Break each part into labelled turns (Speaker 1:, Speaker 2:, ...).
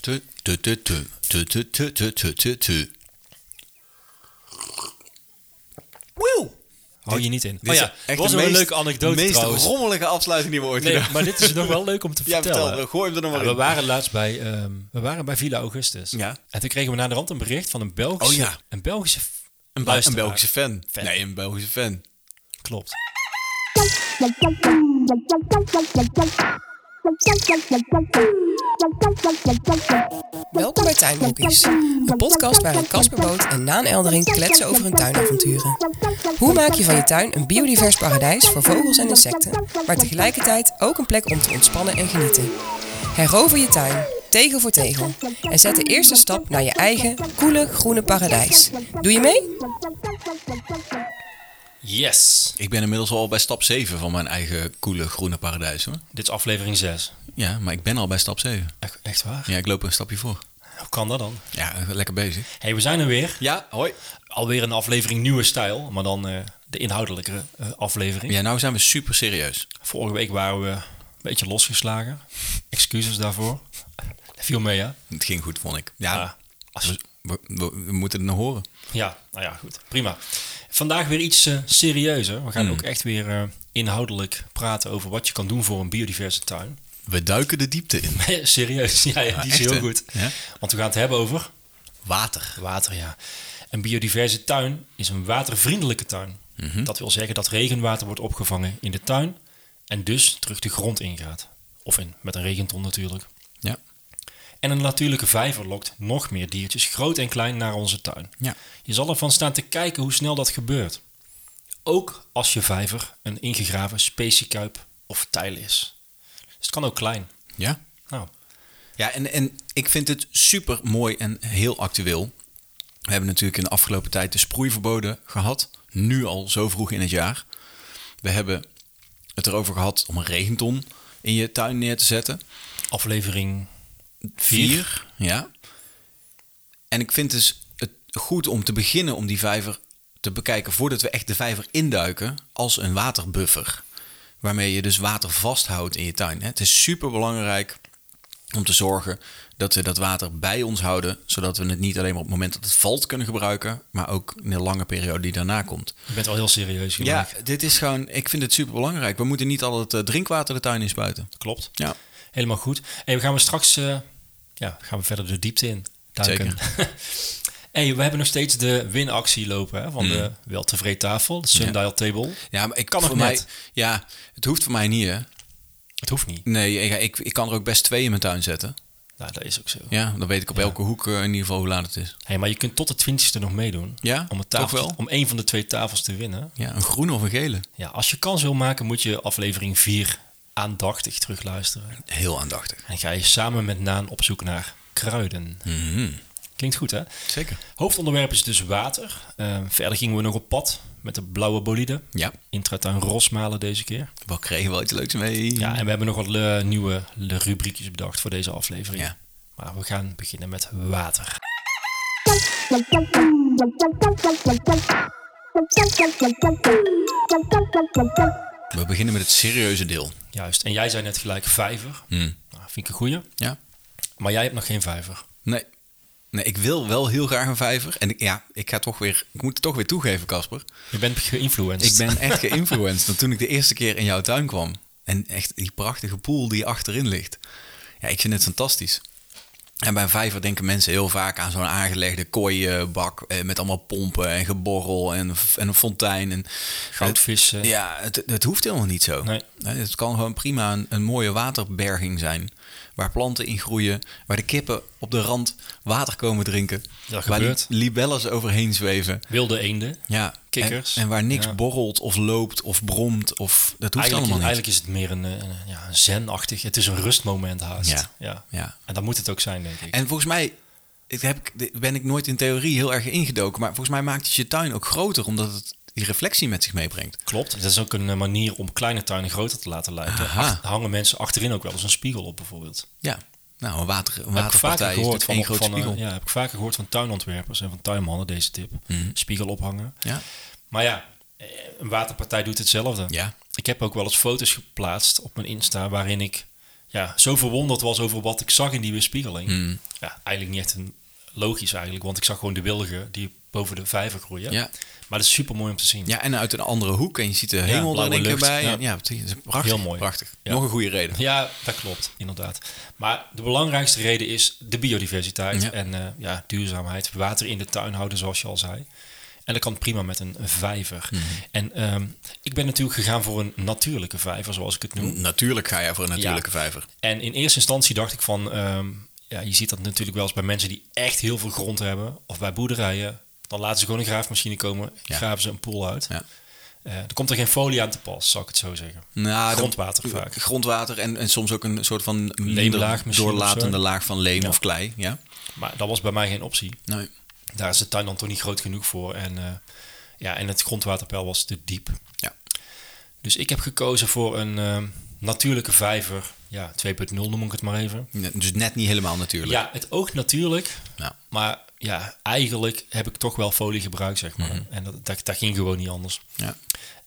Speaker 1: Tu, tu, tu, tu, tu, tu, tu, tu, tu, tu, tu.
Speaker 2: Woe! Hou je niet in.
Speaker 1: Dit
Speaker 2: Oh
Speaker 1: is
Speaker 2: ja, dat
Speaker 1: echt
Speaker 2: was
Speaker 1: de
Speaker 2: wel een
Speaker 1: meest-
Speaker 2: leuke anekdote
Speaker 1: meest
Speaker 2: trouwens.
Speaker 1: rommelige afsluiting die we ooit
Speaker 2: Nee,
Speaker 1: gedaan
Speaker 2: maar dit is nog wel leuk om te
Speaker 1: Ja,
Speaker 2: vertellen.
Speaker 1: vertel. eh, Gooi hem er nog maar
Speaker 2: Ja, we
Speaker 1: in.
Speaker 2: waren laatst bij, ehm, we waren bij Villa Augustus.
Speaker 1: Ja.
Speaker 2: En toen kregen we naar de rand een bericht van een Belgische...
Speaker 1: Oh ja.
Speaker 2: Een Belgische...
Speaker 1: Een, Bel- een
Speaker 2: luisteraar.
Speaker 1: Belgische fan.
Speaker 2: Fan.
Speaker 1: Nee, een Belgische fan.
Speaker 2: Klopt.
Speaker 3: Welkom
Speaker 4: Welkom
Speaker 3: bij
Speaker 4: bij
Speaker 3: Tuinbroekies,
Speaker 4: Tuinbroekies,
Speaker 3: een
Speaker 4: een podcast waarin Casper Boot en Naan Eldering kletsen over hun tuinavonturen. Hoe maak je van je tuin een biodivers paradijs voor vogels en insecten, maar tegelijkertijd ook een plek om te ontspannen en genieten? Herover je tuin, tegel voor tegel, en zet de eerste stap naar je eigen koele groene paradijs. Doe je mee?
Speaker 2: Yes.
Speaker 1: Ik ben inmiddels al bij stap 7 van mijn eigen coole groene paradijs hoor.
Speaker 2: Dit is aflevering 6.
Speaker 1: Ja, maar ik ben al bij stap 7.
Speaker 2: Echt, echt waar?
Speaker 1: Ja, ik loop een stapje voor.
Speaker 2: Hoe kan dat dan?
Speaker 1: Ja, lekker bezig.
Speaker 2: hey, we zijn er weer.
Speaker 1: Ja, hoi.
Speaker 2: Alweer een aflevering nieuwe stijl, maar dan eh, de inhoudelijke eh, aflevering.
Speaker 1: Ja, nou zijn we super serieus.
Speaker 2: Vorige week waren we een beetje losgeslagen. Excuses daarvoor. Dat viel mee, hè?
Speaker 1: Het ging goed, vond ik. Ja,
Speaker 2: Ah, als-
Speaker 1: we, we- we moeten het nog horen.
Speaker 2: Ja, nou ja, goed. Prima. Vandaag weer iets eh, serieuzer. We gaan
Speaker 1: Hmm.
Speaker 2: ook echt weer eh, inhoudelijk praten over wat je kan doen voor een biodiverse tuin.
Speaker 1: We duiken de diepte in.
Speaker 2: Serieus, ja, ja, die is
Speaker 1: echt,
Speaker 2: heel
Speaker 1: hè?
Speaker 2: goed.
Speaker 1: Ja?
Speaker 2: Want we gaan het hebben over
Speaker 1: Water.
Speaker 2: water, ja. Een biodiverse tuin is een watervriendelijke tuin.
Speaker 1: Mhm.
Speaker 2: Dat wil zeggen dat regenwater wordt opgevangen in de tuin en dus terug de grond ingaat. Of in, met een regenton natuurlijk.
Speaker 1: Ja.
Speaker 2: En een natuurlijke vijver lokt nog meer diertjes, groot en klein, naar onze tuin.
Speaker 1: Ja.
Speaker 2: Je zal ervan staan te kijken hoe snel dat gebeurt. Ook als je vijver een ingegraven speciekuip of tijl is. Dus het kan ook klein.
Speaker 1: Ja.
Speaker 2: Nou,
Speaker 1: Ja, en, en ik vind het super mooi en heel actueel. We hebben natuurlijk in de afgelopen tijd de sproeiverboden gehad. Nu al zo vroeg in het jaar. We hebben het erover gehad om een regenton in je tuin neer te zetten.
Speaker 2: aflevering
Speaker 1: Vier.
Speaker 2: Vier.
Speaker 1: Ja. En ik vind dus het goed om te beginnen om die vijver te bekijken voordat we echt de vijver induiken als een waterbuffer. Waarmee je dus water vasthoudt in je tuin. hè. Het is super belangrijk om te zorgen dat we dat water bij ons houden. Zodat we het niet alleen maar op het moment dat het valt kunnen gebruiken. Maar ook in de lange periode die daarna komt.
Speaker 2: Je bent wel heel serieus
Speaker 1: Ja,
Speaker 2: gemaakt.
Speaker 1: dit is gewoon, ik vind het super belangrijk. We moeten niet al het eh, drinkwater de tuin inspuiten.
Speaker 2: Klopt.
Speaker 1: Ja.
Speaker 2: Helemaal goed. En we gaan we straks eh, ja, gaan we verder de diepte in duiken. en we hebben nog steeds de winactie lopen hè, van
Speaker 1: Mm.
Speaker 2: de weltevreden tafel, de sundial table.
Speaker 1: Ja, maar ik
Speaker 2: Kan
Speaker 1: kan voor
Speaker 2: nog
Speaker 1: mij,
Speaker 2: net.
Speaker 1: Ja, het hoeft voor mij niet, hè?
Speaker 2: Het hoeft niet.
Speaker 1: Nee, ik, ik, ik kan er ook best twee in mijn tuin zetten.
Speaker 2: Nou, dat is ook zo.
Speaker 1: Ja, dan weet ik op elke hoek eh, in ieder geval hoe laat het is.
Speaker 2: Hey, maar je kunt tot de twintigste nog meedoen.
Speaker 1: Ja,
Speaker 2: om, het
Speaker 1: toch
Speaker 2: tafeltje-
Speaker 1: wel?
Speaker 2: om een van de twee tafels te winnen.
Speaker 1: Ja, een groene of een gele.
Speaker 2: Ja, als je kans wil maken, moet je aflevering 4 aandachtig terugluisteren.
Speaker 1: Heel aandachtig.
Speaker 2: En ga je samen met Naan op zoek naar kruiden.
Speaker 1: Mhm.
Speaker 2: Klinkt goed, hè?
Speaker 1: Zeker.
Speaker 2: Hoofdonderwerp is dus water. Eh, verder gingen we nog op pad met de blauwe bolide.
Speaker 1: Ja,
Speaker 2: Intratuin Rosmalen deze keer.
Speaker 1: we kregen wel iets leuks mee.
Speaker 2: Ja, en we hebben nog wat le- nieuwe le- rubriekjes bedacht voor deze aflevering.
Speaker 1: Ja.
Speaker 2: Maar we gaan beginnen met water.
Speaker 1: We beginnen met het serieuze deel.
Speaker 2: Juist. En jij zei net gelijk vijver.
Speaker 1: Mhm.
Speaker 2: Nou, vind ik een goeie.
Speaker 1: Ja?
Speaker 2: Maar jij hebt nog geen vijver.
Speaker 1: Nee. Nee, ik wil wel heel graag een vijver. En ik, ja, ik ga toch weer... Ik moet het toch weer toegeven, Casper.
Speaker 2: Je bent geïnfluenced.
Speaker 1: Ik ben echt geïnfluenced. Want toen ik de eerste keer in jouw tuin kwam... en echt die prachtige pool die achterin ligt... ja, ik vind het fantastisch. En bij een vijver denken mensen heel vaak aan zo'n aangelegde kooibak... eh, met allemaal pompen en geborrel en, en een fontein. En,
Speaker 2: Goudvissen.
Speaker 1: ja, het, het hoeft helemaal niet zo.
Speaker 2: Nee.
Speaker 1: Het kan gewoon prima een, een mooie waterberging zijn... waar planten in groeien, waar de kippen op de rand water komen drinken...
Speaker 2: Dat
Speaker 1: waar
Speaker 2: gebeurt.
Speaker 1: li- libellen overheen zweven...
Speaker 2: Wilde eenden.
Speaker 1: Ja,
Speaker 2: Kikkers.
Speaker 1: En, en waar niks
Speaker 2: Ja.
Speaker 1: borrelt of loopt of bromt of dat hoeft
Speaker 2: Eigenlijk,
Speaker 1: allemaal niet.
Speaker 2: eigenlijk is het meer een, eh, een, ja, een zen-achtig. Het is een rustmoment haast.
Speaker 1: Ja.
Speaker 2: Ja.
Speaker 1: Ja.
Speaker 2: En dat moet het ook zijn, denk ik.
Speaker 1: En volgens mij ik heb, ik- ben ik nooit in theorie heel erg ingedoken, maar volgens mij maakt het je tuin ook groter omdat het die reflectie met zich meebrengt.
Speaker 2: Klopt. Dat is ook een eh, manier om kleine tuinen groter te laten lijken.
Speaker 1: Aha.
Speaker 2: Ach- hangen mensen achterin ook wel eens een spiegel op, bijvoorbeeld.
Speaker 1: Ja. Nou, een, water, een
Speaker 2: Heb ik vaker
Speaker 1: waterpartij is
Speaker 2: gehoord
Speaker 1: natuurlijk
Speaker 2: van,
Speaker 1: één groot
Speaker 2: van, eh,
Speaker 1: spiegel. ja.
Speaker 2: ja, heb ik vaker gehoord van tuinontwerpers en van tuinmannen deze tip.
Speaker 1: Mhm.
Speaker 2: Spiegel ophangen.
Speaker 1: Ja.
Speaker 2: Maar ja, eh, een waterpartij doet hetzelfde.
Speaker 1: Ja.
Speaker 2: Ik heb ook wel eens foto's geplaatst op mijn Insta waarin ik ja, zo verwonderd was over wat ik zag in die weerspiegeling.
Speaker 1: Hmm.
Speaker 2: Ja, eigenlijk niet echt een, logisch eigenlijk, want ik zag gewoon de wilgen die boven de vijver groeien.
Speaker 1: Ja.
Speaker 2: Maar dat is super mooi om te zien.
Speaker 1: Ja, en uit een andere hoek. En je ziet de hemel
Speaker 2: blauwe
Speaker 1: daar denk ik
Speaker 2: lucht,
Speaker 1: bij.
Speaker 2: ja.
Speaker 1: Ja, ja het is prachtig.
Speaker 2: Heel mooi.
Speaker 1: Prachtig.
Speaker 2: Ja.
Speaker 1: Nog een goede reden.
Speaker 2: Ja, dat klopt, inderdaad. Maar de belangrijkste reden is de biodiversiteit
Speaker 1: Ja.
Speaker 2: en eh, ja, duurzaamheid. Water in de tuin houden, zoals je al zei. En dat kan prima met een vijver.
Speaker 1: Hmm.
Speaker 2: En ehm, ik ben natuurlijk gegaan voor een natuurlijke vijver, zoals ik het
Speaker 1: Hmm,
Speaker 2: noem.
Speaker 1: Natuurlijk ga je voor een natuurlijke
Speaker 2: Ja.
Speaker 1: vijver.
Speaker 2: En in eerste instantie dacht ik van, ehm, ja, je ziet dat natuurlijk wel eens bij mensen die echt heel veel grond hebben, of bij boerderijen. Dan laten ze gewoon een graafmachine komen,
Speaker 1: Ja.
Speaker 2: graven ze een poel uit.
Speaker 1: Ja.
Speaker 2: Eh, er komt er geen folie aan te pas, zou ik het zo zeggen.
Speaker 1: Nou, dan-
Speaker 2: Grondwater vaak.
Speaker 1: Grondwater en, en soms ook een soort van minder
Speaker 2: Leemlaag misschien of
Speaker 1: doorlatende
Speaker 2: zo.
Speaker 1: laag van leem
Speaker 2: Ja.
Speaker 1: of klei. Ja? Nou,
Speaker 2: Maar dat was bij mij geen optie.
Speaker 1: Nee.
Speaker 2: Daar is de tuin dan toch niet groot genoeg voor. En, eh, ja, en het grondwaterpeil was te diep.
Speaker 1: Ja.
Speaker 2: Dus ik heb gekozen voor een ehm, natuurlijke vijver. Ja, 2.0 noem ik het maar even.
Speaker 1: Ja, Dus net niet helemaal natuurlijk. Nou,
Speaker 2: Ja, het oogt natuurlijk.
Speaker 1: Ja.
Speaker 2: Maar ja, eigenlijk heb ik toch wel folie gebruikt, zeg maar. En dat, dat, dat ging gewoon niet anders.
Speaker 1: Ja.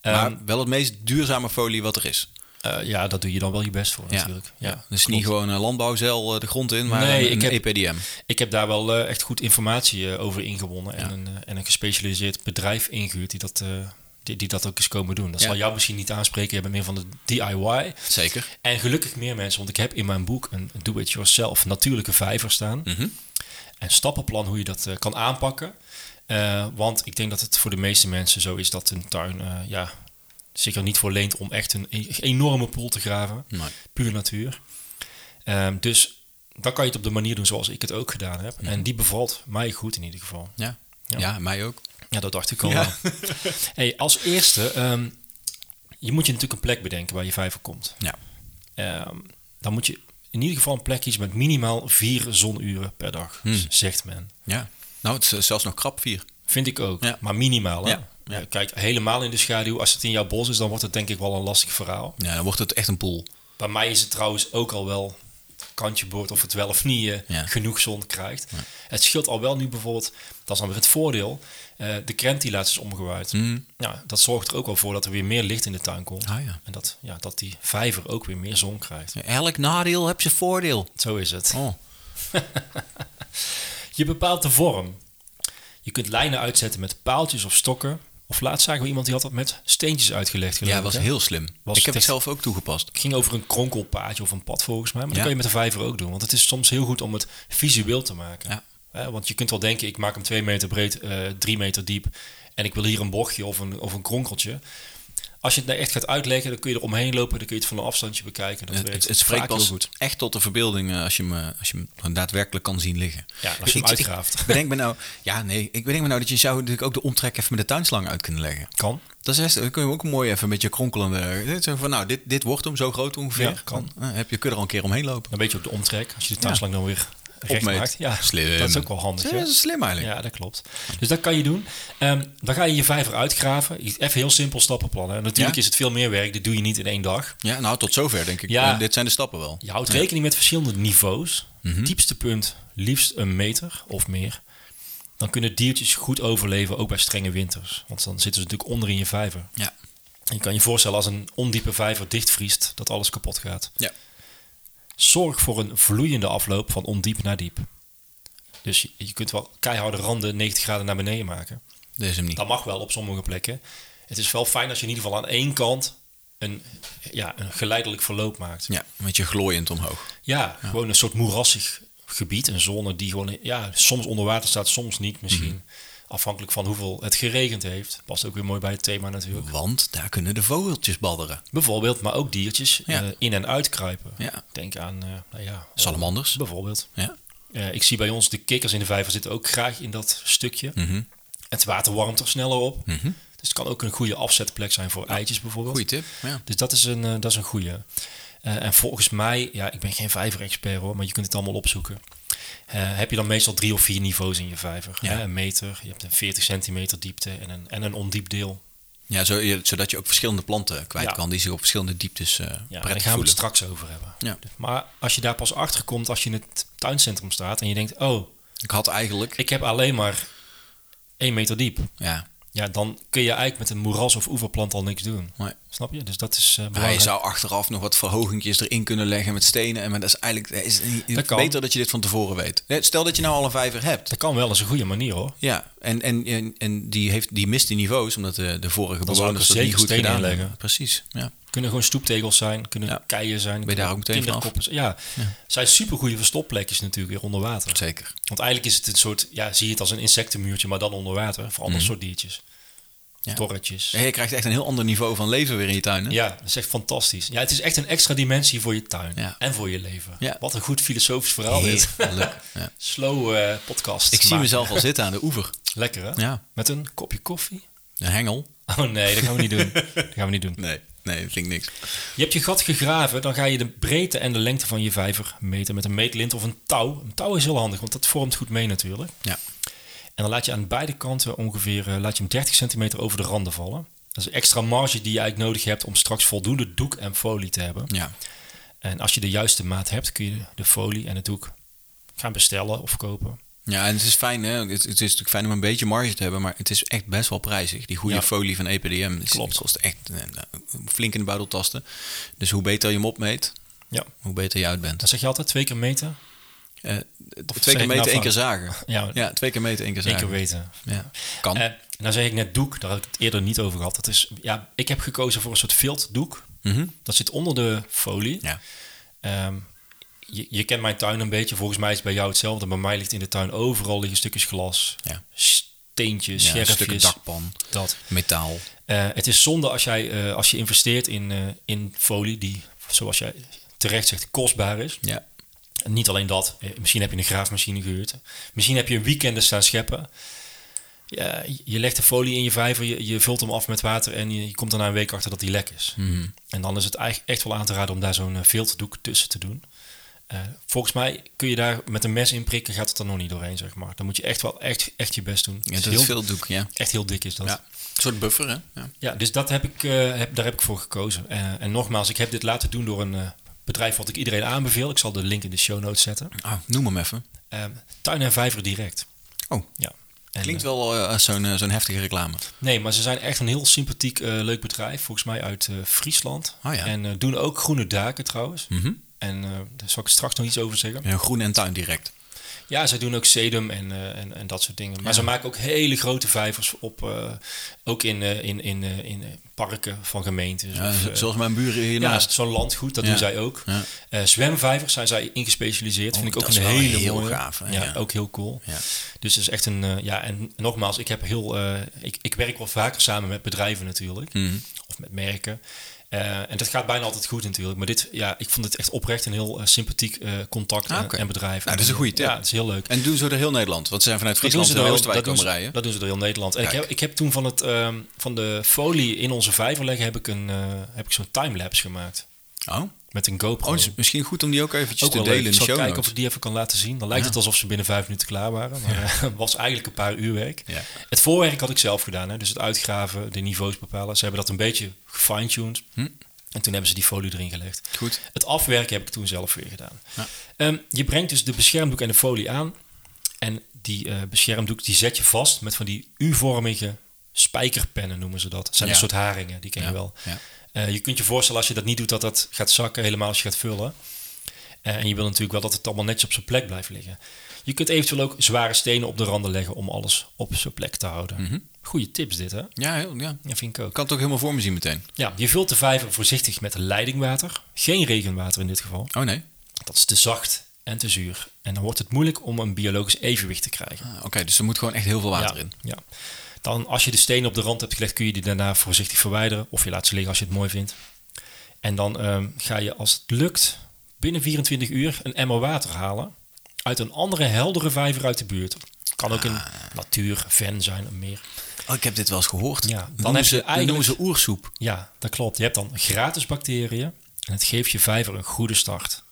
Speaker 2: Ehm,
Speaker 1: Mhm. maar wel het meest duurzame folie wat er is.
Speaker 2: eh, ja, dat doe je dan wel je best voor natuurlijk. Ja,
Speaker 1: dus niet
Speaker 2: klopt.
Speaker 1: gewoon een landbouwzeil eh, de grond in, maar
Speaker 2: Nee,
Speaker 1: een,
Speaker 2: ik
Speaker 1: een E
Speaker 2: heb-
Speaker 1: EPDM.
Speaker 2: Ik heb daar wel eh, echt goed informatie eh, over ingewonnen. En, een, eh, en een gespecialiseerd bedrijf ingehuurd die dat, eh, die, die dat ook eens komen doen. Dat
Speaker 1: Ja.
Speaker 2: zal jou misschien niet aanspreken. Je bent meer van de DIY.
Speaker 1: Zeker.
Speaker 2: En gelukkig meer mensen, want ik heb in mijn boek een do-it-yourself natuurlijke vijver staan. En stappenplan hoe je dat eh, kan aanpakken. Eh, want ik denk dat het voor de meeste mensen zo is dat een tuin eh, ja, zich er niet voor leent om echt een e- enorme poel te graven.
Speaker 1: Nee.
Speaker 2: Puur natuur. Ehm, dus dan kan je het op de manier doen zoals ik het ook gedaan heb. En die bevalt mij goed in ieder geval.
Speaker 1: Ja. Ja.
Speaker 2: Ja.
Speaker 1: mij ook.
Speaker 2: Ja, dat dacht ik al.
Speaker 1: Ja.
Speaker 2: wel. Hey, als eerste, ehm, je moet je natuurlijk een plek bedenken waar je vijver komt.
Speaker 1: Ja.
Speaker 2: Ehm, dan moet je in ieder geval een plek kiezen met minimaal vier zonuren per dag,
Speaker 1: Hmm.
Speaker 2: z- zegt men.
Speaker 1: ja. Nou, het is eh, zelfs nog krap vier.
Speaker 2: Vind ik ook,
Speaker 1: Ja.
Speaker 2: maar minimaal. Hè?
Speaker 1: Ja, ja.
Speaker 2: Eh, Kijk, helemaal in de schaduw. Als het in jouw bos is, dan wordt het denk ik wel een lastig verhaal.
Speaker 1: Ja, dan wordt het echt een pool.
Speaker 2: Bij mij is het trouwens ook al wel kantje boord of het wel of niet eh,
Speaker 1: Ja.
Speaker 2: genoeg zon krijgt. Het scheelt al wel nu bijvoorbeeld, dat is dan weer het voordeel, eh, de krent die laatst is omgewaaid. Ja, dat zorgt er ook wel voor dat er weer meer licht in de tuin komt.
Speaker 1: Mm. Ah, ja.
Speaker 2: En dat, ja, dat die vijver ook weer meer zon krijgt.
Speaker 1: Elk nadeel heb je voordeel.
Speaker 2: Zo is het.
Speaker 1: Oh.
Speaker 2: Je bepaalt de vorm. Je kunt lijnen uitzetten met paaltjes of stokken. Of laatst zagen we iemand die had dat met steentjes uitgelegd. geloof
Speaker 1: Ja,
Speaker 2: ik,
Speaker 1: was
Speaker 2: hè?
Speaker 1: heel slim.
Speaker 2: Was
Speaker 1: ik heb het
Speaker 2: echt-
Speaker 1: zelf ook toegepast.
Speaker 2: Het ging over een kronkelpaadje of een pad volgens mij. Maar
Speaker 1: Ja.
Speaker 2: dat kan je met de vijver ook doen. Want het is soms heel goed om het visueel te maken.
Speaker 1: Ja.
Speaker 2: Hè, want je kunt wel denken, ik maak hem twee meter breed, eh, drie meter diep. En ik wil hier een bochtje of een, of een kronkeltje. Als je het nou echt gaat uitleggen, dan kun je er omheen lopen. Dan kun je het van een afstandje bekijken. Dat
Speaker 1: Het,
Speaker 2: werkt
Speaker 1: het, het spreekt
Speaker 2: vaak heel
Speaker 1: pas
Speaker 2: goed.
Speaker 1: echt tot de verbeelding eh, als je, hem, eh, als je hem gewoon daadwerkelijk kan zien liggen.
Speaker 2: Ja, als je hem
Speaker 1: Ik- ik-
Speaker 2: uitgraaft.
Speaker 1: Ik bedenk me nou, ja, nee, ik bedenk me nou dat je zou natuurlijk ook de omtrek even met de tuinslang uit kunnen leggen.
Speaker 2: Kan.
Speaker 1: Dat is echt, dan kun je hem ook mooi even met je kronkelende. eh, Zo van, nou, dit, dit wordt hem zo groot ongeveer.
Speaker 2: Ja, kan.
Speaker 1: Dan, eh, heb je kun je er al een keer omheen lopen.
Speaker 2: Dan weet je op de omtrek, als je de tuinslang dan weer recht
Speaker 1: Opmeet.
Speaker 2: maakt. Ja,
Speaker 1: Slim.
Speaker 2: dat is ook wel handig. hè?
Speaker 1: dat is slim eigenlijk.
Speaker 2: Ja, dat klopt. Dus dat kan je doen. Ehm, dan ga je je vijver uitgraven. Even heel simpel stappenplan. Hè. Natuurlijk
Speaker 1: Ja.
Speaker 2: is het veel meer werk. Dat doe je niet in één dag.
Speaker 1: Ja, nou, tot zover denk ik.
Speaker 2: Ja.
Speaker 1: Eh, Dit zijn de stappen wel.
Speaker 2: Je houdt rekening met verschillende niveaus. Diepste punt liefst een meter of meer. Dan kunnen diertjes goed overleven, ook bij strenge winters. Want dan zitten ze natuurlijk onder in je vijver.
Speaker 1: Ja.
Speaker 2: En je kan je voorstellen als een ondiepe vijver dichtvriest, dat alles kapot gaat.
Speaker 1: Ja.
Speaker 2: Zorg voor een vloeiende afloop van ondiep naar diep. Dus je, je kunt wel keiharde randen 90 graden naar beneden maken.
Speaker 1: Dit is hem niet.
Speaker 2: Dat mag wel op sommige plekken. Het is wel fijn als je in ieder geval aan één kant een, ja, een geleidelijk verloop maakt.
Speaker 1: Ja, een beetje glooiend omhoog.
Speaker 2: Ja, gewoon een soort moerassig gebied, een zone die gewoon ja, soms onder water staat, soms niet misschien.
Speaker 1: Mhm.
Speaker 2: Afhankelijk van hoeveel het geregend heeft. Past ook weer mooi bij het thema natuurlijk.
Speaker 1: Want daar kunnen de vogeltjes badderen.
Speaker 2: Bijvoorbeeld, maar ook diertjes
Speaker 1: Ja.
Speaker 2: eh, in- en uitkruipen.
Speaker 1: Ja.
Speaker 2: Denk aan, eh nou ja, eh,
Speaker 1: Salamanders.
Speaker 2: bijvoorbeeld.
Speaker 1: Ja.
Speaker 2: Eh, ik zie bij ons de kikkers in de vijver zitten ook graag in dat stukje.
Speaker 1: Mhm.
Speaker 2: Het water warmt er sneller op. Dus het kan ook een goede afzetplek zijn voor eitjes bijvoorbeeld.
Speaker 1: Goeie tip. Ja.
Speaker 2: Dus dat is een, eh, dat is een goede. en volgens mij, ja, ik ben geen vijverexpert hoor, maar je kunt het allemaal opzoeken. Eh, heb je dan meestal drie of vier niveaus in je vijver?
Speaker 1: Ja.
Speaker 2: hè? Een meter, je hebt een 40 centimeter diepte en een, en een ondiep deel.
Speaker 1: Ja, zo, je- zodat je ook verschillende planten kwijt
Speaker 2: Ja.
Speaker 1: kan die zich op verschillende dieptes eh
Speaker 2: Ja, daar
Speaker 1: prettig
Speaker 2: gaan we het
Speaker 1: voelen.
Speaker 2: straks over hebben.
Speaker 1: Ja.
Speaker 2: Dus- Maar als je daar pas achter komt, als je in het tuincentrum staat en je denkt, oh,
Speaker 1: Ik had eigenlijk,
Speaker 2: ik heb alleen maar één meter diep.
Speaker 1: ja,
Speaker 2: ja, dan kun je eigenlijk met een moeras of oeverplant al niks doen.
Speaker 1: Nee.
Speaker 2: Snap je? Dus dat is eh,
Speaker 1: Hij
Speaker 2: belangrijk.
Speaker 1: zou achteraf nog wat verhogingjes erin kunnen leggen met stenen. En maar dat is eigenlijk is het niet-
Speaker 2: Dat kan.
Speaker 1: beter dat je dit van tevoren weet. Nee, Stel dat je nou al een vijver hebt.
Speaker 2: Dat kan wel eens een goede manier hoor.
Speaker 1: Ja, en, en, en, en die, heeft, die mist die niveaus, omdat de, de vorige
Speaker 2: Dan zou ik
Speaker 1: bewoners
Speaker 2: er
Speaker 1: dat niet
Speaker 2: zeker
Speaker 1: goed
Speaker 2: stenen
Speaker 1: gedaan
Speaker 2: in leggen.
Speaker 1: hebben. Precies, ja.
Speaker 2: Kunnen gewoon stoeptegels zijn, kunnen
Speaker 1: Ja.
Speaker 2: keien zijn.
Speaker 1: Ben je daar ook meteen vanaf?
Speaker 2: kinderkoppen zijn. Ja, zijn supergoeie verstopplekjes natuurlijk weer onder water.
Speaker 1: Zeker.
Speaker 2: Want eigenlijk is het een soort, ja, zie je het als een insectenmuurtje, maar dan onder water. Voor ander soort diertjes.
Speaker 1: Mhm. Ja.
Speaker 2: Torretjes.
Speaker 1: Ja, je krijgt echt een heel ander niveau van leven weer in je tuin. Hè?
Speaker 2: Ja, dat is echt fantastisch. Ja, het is echt een extra dimensie voor je tuin
Speaker 1: Ja.
Speaker 2: en voor je leven.
Speaker 1: Ja.
Speaker 2: Wat een goed filosofisch verhaal dit.
Speaker 1: Heerlijk, ja.
Speaker 2: Slow eh, podcast.
Speaker 1: Ik zie
Speaker 2: maken.
Speaker 1: mezelf al zitten aan de oever.
Speaker 2: Lekker hè?
Speaker 1: Ja.
Speaker 2: Met een kopje koffie.
Speaker 1: Een hengel?
Speaker 2: Oh nee, dat gaan we niet doen. Dat gaan we niet doen.
Speaker 1: Nee, nee, dat klinkt niks.
Speaker 2: Je hebt je gat gegraven, dan ga je de breedte en de lengte van je vijver meten met een meetlint of een touw. Een touw is heel handig, want dat vormt goed mee natuurlijk.
Speaker 1: Ja.
Speaker 2: En dan laat je aan beide kanten ongeveer eh, laat je hem 30 centimeter over de randen vallen. Dat is een extra marge die je eigenlijk nodig hebt om straks voldoende doek en folie te hebben.
Speaker 1: Ja.
Speaker 2: En als je de juiste maat hebt, kun je de folie en het doek gaan bestellen of kopen.
Speaker 1: ja, en het is fijn, hè? Het, het is natuurlijk fijn om een beetje marge te hebben, maar het is echt best wel prijzig. Die goede
Speaker 2: Ja.
Speaker 1: folie van E EPDM is,
Speaker 2: Klopt.
Speaker 1: kost echt eh, nou, flink in de buideltasten. Dus hoe beter je hem opmeet,
Speaker 2: Ja.
Speaker 1: hoe beter je uit bent.
Speaker 2: Dan zeg je altijd twee keer meten,
Speaker 1: Eh,
Speaker 2: zeg
Speaker 1: twee
Speaker 2: ik
Speaker 1: keer
Speaker 2: nou
Speaker 1: meten, één
Speaker 2: fout?
Speaker 1: keer zagen.
Speaker 2: Ja.
Speaker 1: ja, twee keer meten, één keer
Speaker 2: één
Speaker 1: zagen.
Speaker 2: keer weten.
Speaker 1: Ja, kan.
Speaker 2: Eh, en dan zeg ik net doek, daar had ik het eerder niet over gehad. Dat is, ja, ik heb gekozen voor een soort viltdoek.
Speaker 1: Mhm.
Speaker 2: Dat zit onder de folie.
Speaker 1: Ja.
Speaker 2: Ehm, je, je kent mijn tuin een beetje. Volgens mij is het bij jou hetzelfde. Bij mij ligt in de tuin overal liggen stukjes glas,
Speaker 1: Ja.
Speaker 2: steentjes,
Speaker 1: Ja,
Speaker 2: scherfjes.
Speaker 1: stukken dakpan,
Speaker 2: Dat.
Speaker 1: metaal.
Speaker 2: Eh, het is zonde als, jij, eh, als je investeert in, eh, in folie die, zoals jij terecht zegt, kostbaar is.
Speaker 1: Ja.
Speaker 2: En niet alleen dat. eh, misschien heb je een graafmachine gehuurd. Misschien heb je een weekend staan scheppen. Ja, je legt de folie in je vijver, je, je vult hem af met water en je, je komt daarna een week achter dat die lek is.
Speaker 1: Mhm.
Speaker 2: En dan is het eigenlijk echt wel aan te raden om daar zo'n eh, viltdoek tussen te doen. Eh, volgens mij kun je daar met een mes in prikken, gaat het er nog niet doorheen, zeg maar. Dan moet je echt wel echt, echt je best doen.
Speaker 1: Ja,
Speaker 2: Het
Speaker 1: dat
Speaker 2: is
Speaker 1: is
Speaker 2: heel-
Speaker 1: veel doek, ja.
Speaker 2: Echt heel dik is dat.
Speaker 1: ja. Een soort buffer, hè? Ja.
Speaker 2: Ja, dus dat heb ik, eh, heb, daar heb ik voor gekozen. Eh, en nogmaals, ik heb dit laten doen door een eh, bedrijf wat ik iedereen aanbeveel. Ik zal de link in de show notes zetten.
Speaker 1: Ah, noem hem even.
Speaker 2: Eh, Tuin en Vijver Direct.
Speaker 1: Oh,
Speaker 2: Ja. En,
Speaker 1: klinkt
Speaker 2: eh,
Speaker 1: wel eh, als zo'n eh, zo'n heftige reclame.
Speaker 2: nee, maar ze zijn echt een heel sympathiek, eh, leuk bedrijf. Volgens mij uit eh, Friesland.
Speaker 1: Oh ja.
Speaker 2: En eh, doen ook groene daken trouwens.
Speaker 1: Mhm.
Speaker 2: En eh, daar zal ik straks nog iets over zeggen.
Speaker 1: Ja, groen en tuin direct.
Speaker 2: Ja, zij doen ook sedum en, eh, en, en dat soort dingen. Maar ze maken ook hele grote vijvers op. eh, ook in, eh, in, in, eh, in eh, parken van gemeentes.
Speaker 1: Ja,
Speaker 2: of,
Speaker 1: z-
Speaker 2: eh,
Speaker 1: zoals mijn buren hiernaast.
Speaker 2: Ja, zo'n landgoed, dat
Speaker 1: Ja.
Speaker 2: doen zij ook.
Speaker 1: Ja.
Speaker 2: Eh, zwemvijvers zijn zij ingespecialiseerd.
Speaker 1: Oh,
Speaker 2: Vind ik ook
Speaker 1: dat is
Speaker 2: een
Speaker 1: wel
Speaker 2: hele
Speaker 1: heel
Speaker 2: mooie.
Speaker 1: gaaf, hè?
Speaker 2: ja,
Speaker 1: Ja.
Speaker 2: ook heel cool.
Speaker 1: Ja.
Speaker 2: Dus het is echt een... eh, ja, en nogmaals, ik, heb heel, eh, ik, ik werk wel vaker samen met bedrijven natuurlijk.
Speaker 1: Mhm.
Speaker 2: Of met merken. Eh, en dat gaat bijna altijd goed natuurlijk. Maar dit, ja, ik vond het echt oprecht een heel eh, sympathiek eh, contact
Speaker 1: Ah,
Speaker 2: en-
Speaker 1: oké.
Speaker 2: en bedrijf.
Speaker 1: Nou, dat is een goede tip.
Speaker 2: Ja, dat is heel leuk.
Speaker 1: En doen ze door heel Nederland, want ze zijn vanuit Friesland
Speaker 2: door
Speaker 1: naar
Speaker 2: heel-
Speaker 1: Oostenrijk
Speaker 2: dat
Speaker 1: komen
Speaker 2: doen ze-
Speaker 1: rijden.
Speaker 2: Dat doen ze door heel Nederland. En ik
Speaker 1: Kijk.
Speaker 2: heb, ik heb toen van, het, ehm, van de folie in onze vijver leggen, heb ik, een, eh, heb ik zo'n timelapse gemaakt.
Speaker 1: Oh, oh
Speaker 2: Met een GoPro.
Speaker 1: het is misschien goed om die ook eventjes
Speaker 2: ook
Speaker 1: te
Speaker 2: wel
Speaker 1: delen
Speaker 2: leuk.
Speaker 1: in
Speaker 2: Ik
Speaker 1: de
Speaker 2: zal
Speaker 1: show
Speaker 2: kijken of
Speaker 1: notes.
Speaker 2: ik die even kan laten zien. Dan lijkt het alsof ze binnen vijf minuten klaar waren. Maar eh, was eigenlijk een paar uur werk.
Speaker 1: Ja.
Speaker 2: Het voorwerk had ik zelf gedaan. Hè? Dus het uitgraven, de niveaus bepalen. Ze hebben dat een beetje gefine-tuned. En toen hebben ze die folie erin gelegd.
Speaker 1: Hm? Goed.
Speaker 2: Het afwerken heb ik toen zelf weer gedaan.
Speaker 1: Ja.
Speaker 2: Ehm, je brengt dus de beschermdoek en de folie aan. En die eh, beschermdoek die zet je vast met van die U-vormige spijkerpennen noemen ze dat. Dat zijn
Speaker 1: Ja.
Speaker 2: een soort haringen, die ken je
Speaker 1: Ja,
Speaker 2: wel.
Speaker 1: ja.
Speaker 2: Eh, je kunt je voorstellen als je dat niet doet dat dat gaat zakken helemaal als je gaat vullen. Eh, en je wil natuurlijk wel dat het allemaal netjes op zijn plek blijft liggen. Je kunt eventueel ook zware stenen op de randen leggen om alles op zijn plek te houden. Goeie tips dit hè?
Speaker 1: Ja, heel, ja.
Speaker 2: Ja, vind ik ook.
Speaker 1: Ik kan het ook helemaal voor me zien meteen.
Speaker 2: Ja, je vult de vijver voorzichtig met leidingwater. Geen regenwater in dit geval.
Speaker 1: Oh nee.
Speaker 2: Dat is te zacht en te zuur. En dan wordt het moeilijk om een biologisch evenwicht te krijgen.
Speaker 1: Ah, Oké, dus er moet gewoon echt heel veel water
Speaker 2: ja,
Speaker 1: in.
Speaker 2: Ja. Dan als je de stenen op de rand hebt gelegd, kun je die daarna voorzichtig verwijderen. Of je laat ze liggen als je het mooi vindt. En dan ehm, ga je, als het lukt, binnen 24 uur een emmer water halen. Uit een andere heldere vijver uit de buurt. Kan ook een
Speaker 1: Ah.
Speaker 2: natuurven zijn, een meer.
Speaker 1: Oh, ik heb dit wel eens gehoord.
Speaker 2: Ja, dan
Speaker 1: dan noemen
Speaker 2: heb
Speaker 1: ze,
Speaker 2: je eigenlijk-
Speaker 1: noemen ze oersoep.
Speaker 2: Ja, dat klopt. Je hebt dan gratis bacteriën en het geeft je vijver een goede start.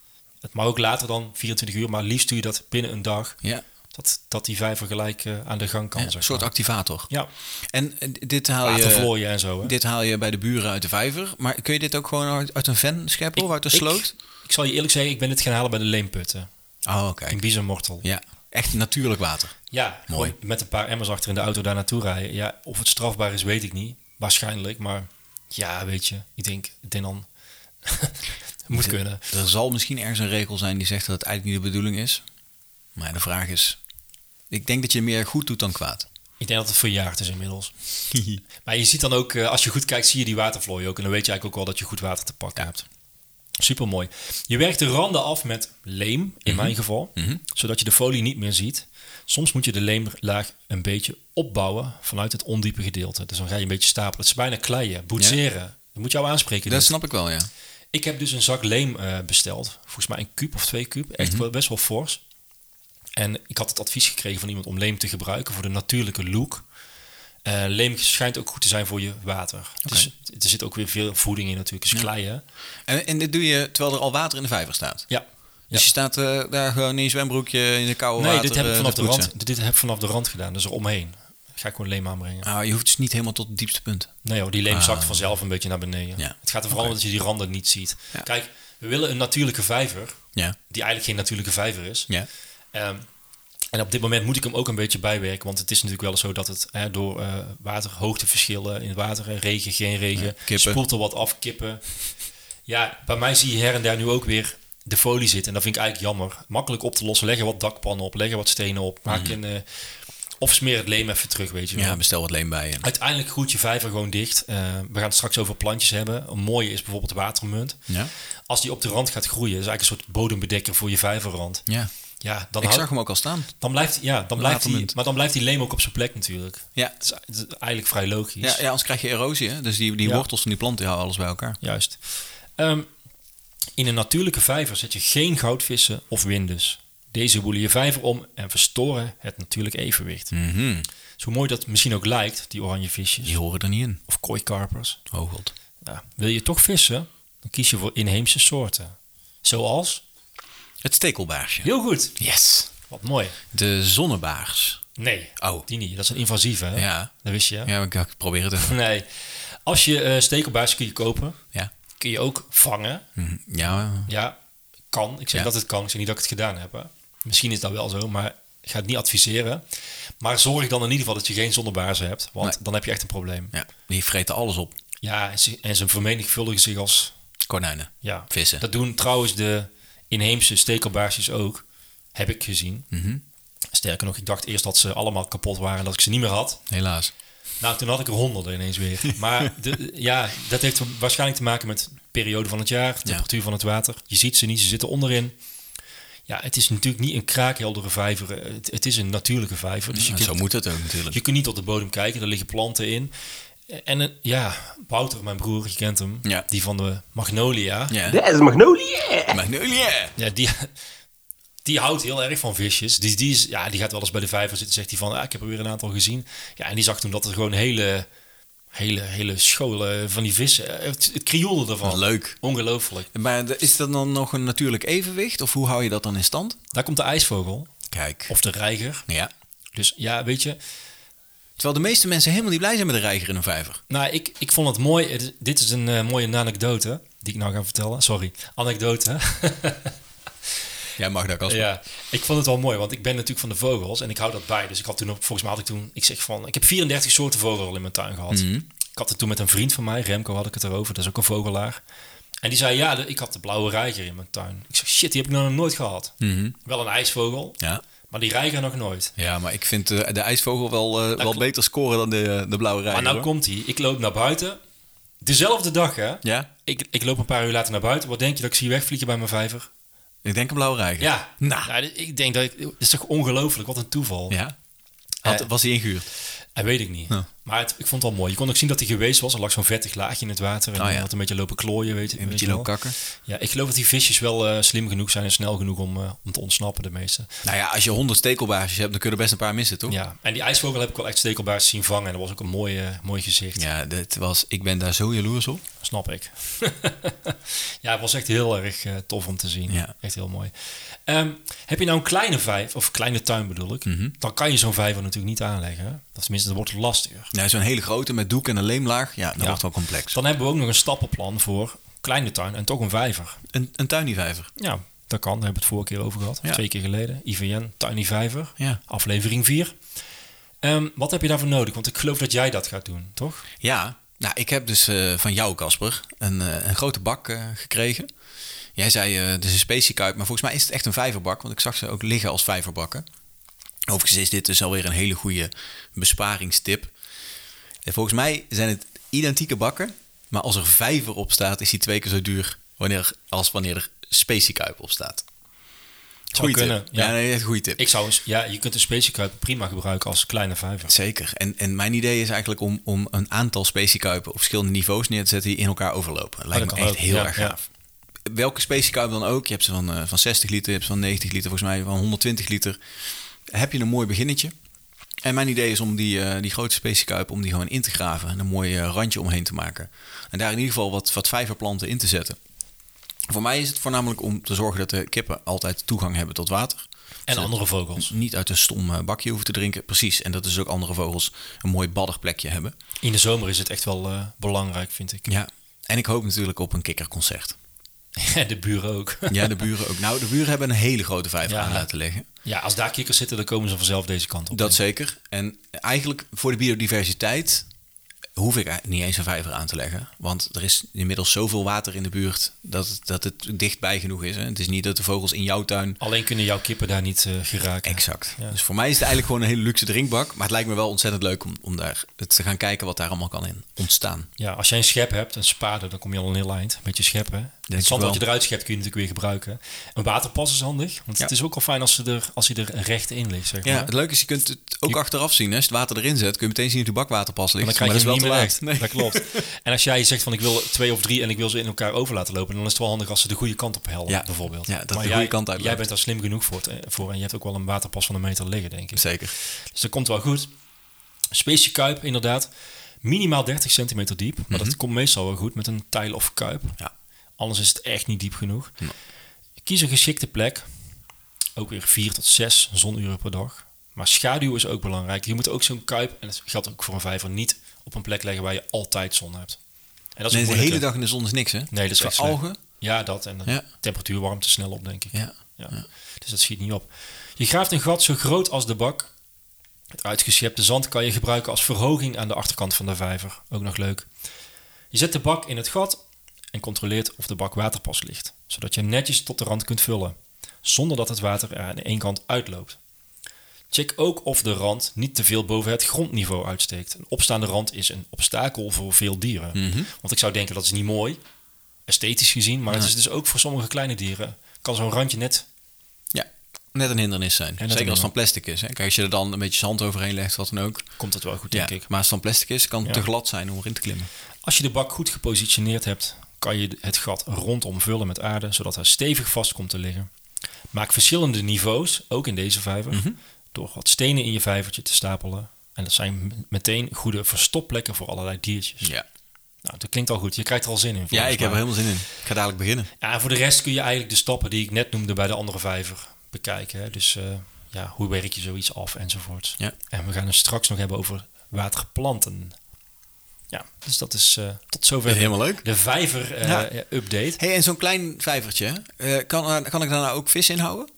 Speaker 2: Het mag ook later dan 24 uur, maar liefst doe je dat binnen een dag.
Speaker 1: Ja,
Speaker 2: Dat, dat die vijver gelijk eh, aan de gang kan.
Speaker 1: ja,
Speaker 2: zeg
Speaker 1: een soort
Speaker 2: maar.
Speaker 1: activator.
Speaker 2: Ja,
Speaker 1: En eh, dit haal je...
Speaker 2: watervlooien en zo. Hè?
Speaker 1: Dit haal je bij de buren uit de vijver. Maar kun je dit ook gewoon uit, uit een ven scheppen of uit een sloot?
Speaker 2: Ik, ik zal je eerlijk zeggen, ik ben dit gaan halen bij de leemputten
Speaker 1: oh,
Speaker 2: in
Speaker 1: kijk.
Speaker 2: Biezenmortel.
Speaker 1: Ja. Echt natuurlijk water.
Speaker 2: Ja,
Speaker 1: Mooi.
Speaker 2: gewoon Met een paar emmers achter in de auto daar naartoe rijden. Ja, of het strafbaar is, weet ik niet. Waarschijnlijk, maar ja, weet je. Ik denk, ik denk dan... moet kunnen.
Speaker 1: Er zal misschien ergens een regel zijn die zegt dat het eigenlijk niet de bedoeling is. Maar ja, de vraag is... Ik denk dat je meer goed doet dan kwaad.
Speaker 2: Ik denk dat het verjaard is inmiddels. Maar je ziet dan ook, eh, als je goed kijkt, zie je die watervlooi ook. En dan weet je eigenlijk ook wel dat je goed water te pakken hebt. Supermooi. Je werkt de randen af met leem, in mijn geval. Zodat je de folie niet meer ziet. Soms moet je de leemlaag een beetje opbouwen vanuit het ondiepe gedeelte. Dus dan ga je een beetje stapelen. Het is bijna kleien, boetseren. Dat moet jou aanspreken.
Speaker 1: Dat
Speaker 2: dit.
Speaker 1: snap ik wel, ja.
Speaker 2: Ik heb dus een zak leem eh, besteld. Volgens mij een kuub of twee kuub. Echt
Speaker 1: Mhm.
Speaker 2: wel best wel fors. En ik had het advies gekregen van iemand om leem te gebruiken voor de natuurlijke look. Eh, leem schijnt ook goed te zijn voor je water. Dus Het is- er zit ook weer veel voeding in natuurlijk. Het is klei, hè?
Speaker 1: En, en dit doe je terwijl er al water in de vijver staat.
Speaker 2: Ja.
Speaker 1: Dus je staat eh, daar gewoon in je zwembroekje in de koude
Speaker 2: Nee,
Speaker 1: water
Speaker 2: dit heb, ik
Speaker 1: eh,
Speaker 2: vanaf
Speaker 1: te
Speaker 2: de
Speaker 1: poetsen.
Speaker 2: rand, dit heb ik vanaf de rand gedaan. Dus er omheen. Ga ik gewoon leem aanbrengen.
Speaker 1: Ah, je hoeft dus niet helemaal tot het diepste punt.
Speaker 2: Nee joh, die leem zakt vanzelf een beetje naar beneden.
Speaker 1: Ah. Ja.
Speaker 2: Het gaat er vooral om dat je die randen niet ziet.
Speaker 1: Ja.
Speaker 2: Kijk, we willen een natuurlijke vijver.
Speaker 1: Ja.
Speaker 2: Die eigenlijk geen natuurlijke vijver is.
Speaker 1: ja.
Speaker 2: Ehm, en op dit moment moet ik hem ook een beetje bijwerken. Want het is natuurlijk wel zo dat het hè, door eh, waterhoogteverschillen in het water, eh, regen, geen regen,
Speaker 1: kippen.
Speaker 2: spoelt er wat af, kippen. Ja, bij mij zie je her en daar nu ook weer de folie zitten. En dat vind ik eigenlijk jammer. Makkelijk op te lossen. Leg er wat dakpannen op, leg er wat stenen op. Maak een, eh, of smeer het leem even terug, weet je wel.
Speaker 1: Mhm. ja, bestel wat leem bij. En...
Speaker 2: Uiteindelijk groeit je vijver gewoon dicht. Eh, we gaan het straks over plantjes hebben. Een mooie is bijvoorbeeld de watermunt.
Speaker 1: Ja.
Speaker 2: Als die op de rand gaat groeien, is eigenlijk een soort bodembedekker voor je vijverrand.
Speaker 1: Ja.
Speaker 2: Ja, dan
Speaker 1: Ik
Speaker 2: hou-
Speaker 1: zag hem ook al staan.
Speaker 2: dan blijft, ja, dan blijft die,
Speaker 1: Watermunt.
Speaker 2: maar dan blijft die leem ook op zijn plek natuurlijk.
Speaker 1: Ja.
Speaker 2: Het is, het is eigenlijk vrij logisch.
Speaker 1: Ja, ja, anders krijg je erosie. Hè? Dus die, die
Speaker 2: Ja.
Speaker 1: wortels van die planten die houden alles bij elkaar.
Speaker 2: Juist. Ehm, in een natuurlijke vijver zet je geen goudvissen of windus. Deze woelen je vijver om en verstoren het natuurlijk evenwicht.
Speaker 1: Hm.
Speaker 2: Zo mooi dat misschien ook lijkt, die oranje visjes
Speaker 1: Die horen er niet in.
Speaker 2: of kooikarpers.
Speaker 1: Oh god.
Speaker 2: Ja. Wil je toch vissen, dan kies je voor inheemse soorten. Zoals?
Speaker 1: Het stekelbaarsje.
Speaker 2: Heel goed.
Speaker 1: Yes.
Speaker 2: Wat mooi.
Speaker 1: De zonnebaars.
Speaker 2: Nee,
Speaker 1: Oh.
Speaker 2: die niet. Dat is een invasieve, hè?
Speaker 1: Ja.
Speaker 2: Dat wist je, hè?
Speaker 1: Ja, maar ik dacht, ik probeer het even.
Speaker 2: Nee. Als je eh stekelbaars kun je kopen,
Speaker 1: Ja.
Speaker 2: kun je ook vangen.
Speaker 1: Mhm. Ja, eh,
Speaker 2: Ja, kan. Ik zeg
Speaker 1: Ja.
Speaker 2: dat het kan. Ik zeg niet dat ik het gedaan heb. Hè. Misschien is dat wel zo, maar ik ga het niet adviseren. Maar zorg dan in ieder geval dat je geen zonnebaarzen hebt. Want
Speaker 1: Nee.
Speaker 2: dan heb je echt een probleem.
Speaker 1: ja. Die vreten alles op.
Speaker 2: Ja, en ze, en ze vermenigvuldigen zich als
Speaker 1: Konijnen.
Speaker 2: ja,
Speaker 1: Vissen.
Speaker 2: Dat doen trouwens de inheemse stekelbaarsjes ook. Heb ik gezien.
Speaker 1: Mhm.
Speaker 2: Sterker nog, ik dacht eerst dat ze allemaal kapot waren en dat ik ze niet meer had.
Speaker 1: Helaas.
Speaker 2: Nou, toen had ik er honderden ineens weer. Maar de, ja, dat heeft waarschijnlijk te maken met de periode van het jaar, de temperatuur van het water. Je ziet ze niet, ze zitten onderin. Ja, het is natuurlijk niet een kraakheldere vijver. eh, Het, het is een natuurlijke vijver. Dus je,
Speaker 1: Ja,
Speaker 2: kunt,
Speaker 1: zo moet het ook natuurlijk.
Speaker 2: je kunt niet op de bodem kijken, er liggen planten in. En eh, ja, Wouter, mijn broer, je kent hem,
Speaker 1: Ja.
Speaker 2: die van de Magnolia. Ja,
Speaker 1: Ja.
Speaker 3: Dat is Magnolia!
Speaker 1: Magnolia.
Speaker 2: die, die houdt heel erg van visjes. Die, die, is, ja, die gaat wel eens bij de vijver zitten, zegt hij van, ah, ik heb er weer een aantal gezien. Ja, en die zag toen dat er gewoon hele, hele, hele scholen van die vissen, eh, het, het krioelde ervan.
Speaker 1: Wat leuk.
Speaker 2: Ongelooflijk.
Speaker 1: Maar de- is dat dan nog een natuurlijk evenwicht? Of hoe hou je dat dan in stand?
Speaker 2: Daar komt de ijsvogel,
Speaker 1: Kijk.
Speaker 2: of de reiger.
Speaker 1: Ja.
Speaker 2: Dus ja, weet je,
Speaker 1: Terwijl de meeste mensen helemaal niet blij zijn met een reiger in een vijver.
Speaker 2: nou, ik, ik vond het mooi. Het is- Dit is een eh, mooie anekdote, die ik nou ga vertellen. Sorry, anekdote.
Speaker 1: Jij mag dat als
Speaker 2: Ja, ik vond het wel mooi, want ik ben natuurlijk van de vogels en ik hou dat bij. Dus ik had toen, ook- volgens mij had ik toen, ik zeg van, ik heb 34 soorten vogel al in mijn tuin gehad.
Speaker 1: Mhm.
Speaker 2: Ik had het toen met een vriend van mij, Remco had ik het erover, dat is ook een vogelaar. En die zei, ja, de- ik had de blauwe reiger in mijn tuin. Ik zeg, shit, die heb ik nou nog nooit gehad.
Speaker 1: Mhm.
Speaker 2: Wel een ijsvogel,
Speaker 1: Ja.
Speaker 2: maar die reiger nog nooit.
Speaker 1: Ja, maar ik vind eh, de ijsvogel wel, eh, wel beter scoren dan de, de blauwe reiger.
Speaker 2: Maar nou
Speaker 1: hoor.
Speaker 2: komt hij, ik loop naar buiten, dezelfde dag hè.
Speaker 1: Ja?
Speaker 2: Ik, ik loop een paar uur later naar buiten, wat denk je dat ik zie wegvliegen bij mijn vijver?
Speaker 1: Ik denk een blauwe reiger.
Speaker 2: Ja,
Speaker 1: Nou.
Speaker 2: Ja, ik denk dat ik, het is toch ongelooflijk, wat een toeval.
Speaker 1: Ja. Had-
Speaker 2: Eh.
Speaker 1: was hij ingehuurd?
Speaker 2: Dat weet ik niet.
Speaker 1: Ja.
Speaker 2: Maar het, ik vond het wel mooi. Je kon ook zien dat hij geweest was. Er lag zo'n vettig laagje in het water. En
Speaker 1: Oh,
Speaker 2: hij
Speaker 1: ja.
Speaker 2: had een beetje lopen klooien. Weet,
Speaker 1: Een
Speaker 2: weet
Speaker 1: beetje
Speaker 2: je wel.
Speaker 1: lopen kakken.
Speaker 2: Ja, ik geloof dat die visjes wel eh, slim genoeg zijn en snel genoeg om, eh, om te ontsnappen, de meeste.
Speaker 1: Nou ja, als je honderd stekelbaarsjes hebt, dan kunnen er best een paar missen, toch?
Speaker 2: Ja. En die ijsvogel heb ik wel echt stekelbaars zien vangen. En dat was ook een mooi, eh, mooi gezicht.
Speaker 1: Ja, dit was, ik ben daar zo jaloers op.
Speaker 2: Snap ik. ja, het was echt heel erg eh, tof om te zien.
Speaker 1: Ja.
Speaker 2: Echt heel mooi. Ehm, heb je nou een kleine vijver, of kleine tuin bedoel ik,
Speaker 1: Mhm.
Speaker 2: dan kan je zo'n vijver natuurlijk niet aanleggen. hè. Dat is tenminste, dat wordt lastiger.
Speaker 1: Ja, zo'n hele grote met doek en een leemlaag. Ja, dat
Speaker 2: Ja.
Speaker 1: wordt wel complex.
Speaker 2: Dan hebben we ook nog een stappenplan voor kleine tuin en toch een vijver.
Speaker 1: Een, een tuinierijver.
Speaker 2: Ja, Dat kan, daar hebben we het vorige keer over gehad. of
Speaker 1: Ja.
Speaker 2: Twee keer geleden. IVN, Tiny Vijver,
Speaker 1: Ja.
Speaker 2: aflevering 4. Ehm, wat heb je daarvoor nodig? Want ik geloof dat jij dat gaat doen, toch?
Speaker 1: Ja, nou, ik heb dus eh, van jou, Casper, een, eh, een grote bak eh, gekregen. Jij zei, eh dit is een speciekuip, maar volgens mij is het echt een vijverbak, want ik zag ze ook liggen als vijverbakken. Overigens is dit dus alweer een hele goede besparingstip. En volgens mij zijn het identieke bakken, maar als er vijver op staat, is die twee keer zo duur wanneer, als wanneer er speciekuip op staat.
Speaker 2: Zou
Speaker 1: Goeie
Speaker 2: kunnen,
Speaker 1: tip.
Speaker 2: ja.
Speaker 1: Ja, nee, echt een goede tip.
Speaker 2: Ik zou eens, ja, je kunt een speciekuip prima gebruiken als kleine vijver.
Speaker 1: Zeker. En, en mijn idee is eigenlijk om, om een aantal speciekuipen op verschillende niveaus neer te zetten die in elkaar overlopen. Dat lijkt
Speaker 2: Oh, dat
Speaker 1: me
Speaker 2: kan
Speaker 1: echt
Speaker 2: ook,
Speaker 1: heel
Speaker 2: ja,
Speaker 1: erg
Speaker 2: ja.
Speaker 1: gaaf. Welke speciekuip dan ook. Je hebt ze van, eh, van 60 liter, je hebt ze van 90 liter, volgens mij van 120 liter. Heb je een mooi beginnetje. En mijn idee is om die, eh, die grote speciekuip om die gewoon in te graven en een mooi eh, randje omheen te maken. En daar in ieder geval wat, wat vijverplanten in te zetten. Voor mij is het voornamelijk om te zorgen dat de kippen altijd toegang hebben tot water.
Speaker 2: En
Speaker 1: Zodat-
Speaker 2: andere vogels.
Speaker 1: niet uit een stom eh, bakje hoeven te drinken. Precies. En dat is ook andere vogels een mooi baddig plekje hebben.
Speaker 2: In de zomer is het echt wel eh, belangrijk, vind ik.
Speaker 1: Ja. En ik hoop natuurlijk op een kikkerconcert.
Speaker 2: En de buren ook.
Speaker 1: Ja, de buren ook. Nou, de buren hebben een hele grote vijver
Speaker 2: Ja.
Speaker 1: aan laten leggen.
Speaker 2: Ja, als daar kikkers zitten, dan komen ze vanzelf deze kant op.
Speaker 1: Dat zeker. En eigenlijk voor de biodiversiteit hoef ik eigenlijk niet eens een vijver aan te leggen. Want er is inmiddels zoveel water in de buurt dat het, dat het dichtbij genoeg is. Hè? Het is niet dat de vogels in jouw tuin...
Speaker 2: Alleen kunnen jouw kippen daar niet eh, geraken.
Speaker 1: Exact.
Speaker 2: Ja.
Speaker 1: Dus voor mij is het eigenlijk gewoon een hele luxe drinkbak. Maar het lijkt me wel ontzettend leuk om, om daar te gaan kijken wat daar allemaal kan in ontstaan.
Speaker 2: Ja, als jij een schep hebt, een spade, dan kom je al een heel eind. Een beetje scheppen. hè?
Speaker 1: ik
Speaker 2: Het zand wat
Speaker 1: wel.
Speaker 2: je eruit schept, kun je natuurlijk weer gebruiken. Een waterpas is handig, want
Speaker 1: Ja.
Speaker 2: het is ook al fijn als, ze er, als hij er recht in ligt. Zeg maar.
Speaker 1: Ja, het leuke is, je kunt het ook achteraf zien. Hè. Als je het water erin zet, kun je meteen zien hoe de bakwater pas ligt.
Speaker 2: dan krijg je
Speaker 1: maar
Speaker 2: hem niet
Speaker 1: dat
Speaker 2: meer
Speaker 1: is
Speaker 2: recht.
Speaker 1: wel te laat.
Speaker 2: Dat klopt. En als jij zegt van ik wil twee of drie en ik wil ze in elkaar over laten lopen, dan is het wel handig als ze de goede kant op helpen,
Speaker 1: Ja.
Speaker 2: bijvoorbeeld.
Speaker 1: Ja, dat de
Speaker 2: maar
Speaker 1: goede
Speaker 2: jij,
Speaker 1: kant uit
Speaker 2: jij
Speaker 1: loopt.
Speaker 2: bent daar slim genoeg voor, het, eh, voor en je hebt ook wel een waterpas van een meter liggen, denk ik.
Speaker 1: Zeker.
Speaker 2: Dus dat komt wel goed. Speesje kuip, inderdaad. Minimaal 30 centimeter diep. Maar dat komt meestal wel goed met een tijl of kuip.
Speaker 1: Mhm. Ja.
Speaker 2: Anders is het echt niet diep genoeg. Kies een geschikte plek. Ook weer 4 tot 6 zonuren per dag. Maar schaduw is ook belangrijk. Je moet ook zo'n kuip, en dat geldt ook voor een vijver, niet op een plek leggen waar je altijd zon hebt. En dat is
Speaker 1: Nee,
Speaker 2: een
Speaker 1: de hele
Speaker 2: moeilijke.
Speaker 1: dag in de zon is niks, hè?
Speaker 2: Nee, dat is
Speaker 1: Qua
Speaker 2: echt slecht.
Speaker 1: algen.
Speaker 2: Ja, dat. En de
Speaker 1: Ja.
Speaker 2: temperatuur warmt te snel op, denk ik.
Speaker 1: Ja.
Speaker 2: Ja. Dus dat schiet niet op. Je graaft een gat zo groot als de bak. Het uitgeschepte zand kan je gebruiken als verhoging aan de achterkant van de vijver. Ook nog leuk. Je zet de bak in het gat en controleert of de bak waterpas ligt. Zodat je netjes tot de rand kunt vullen. Zonder dat het water er aan één kant uitloopt. Check ook of de rand niet te veel boven het grondniveau uitsteekt. Een opstaande rand is een obstakel voor veel dieren. Want ik zou denken dat is niet mooi, esthetisch gezien. Maar het is dus ook voor sommige kleine dieren. Kan zo'n randje net
Speaker 1: Ja. Net een hindernis zijn.
Speaker 2: een
Speaker 1: Zeker als het van
Speaker 2: hindernis.
Speaker 1: plastic is. Hè? Kijk, als je er dan een beetje zand overheen legt, wat dan ook.
Speaker 2: komt het wel goed,
Speaker 1: Ja.
Speaker 2: denk ik.
Speaker 1: Maar als het van plastic is, kan het
Speaker 2: Ja.
Speaker 1: te glad zijn om erin te klimmen.
Speaker 2: Als je de bak goed gepositioneerd hebt, kan je het gat rondom vullen met aarde, zodat hij stevig vast komt te liggen. Maak verschillende niveaus, ook in deze vijver, door wat stenen in je vijvertje te stapelen. En dat zijn m- meteen goede verstopplekken voor allerlei diertjes.
Speaker 1: Ja.
Speaker 2: Nou, dat klinkt al goed. Je krijgt er al zin in.
Speaker 1: Ja,
Speaker 2: volgens
Speaker 1: ik heb er
Speaker 2: mij.
Speaker 1: helemaal zin in. Ik ga dadelijk beginnen.
Speaker 2: Ja, en voor de rest kun je eigenlijk de stappen die ik net noemde bij de andere vijver bekijken. Hè? Dus eh, ja, hoe werk je zoiets af enzovoort.
Speaker 1: Ja.
Speaker 2: En we gaan het straks nog hebben over waterplanten. Ja, dus dat is eh, tot zover
Speaker 1: Helemaal leuk.
Speaker 2: de eh, vijver-update.
Speaker 1: hey, en zo'n klein vijvertje, hè? Eh, kan, eh, kan ik daar nou ook vis in houden?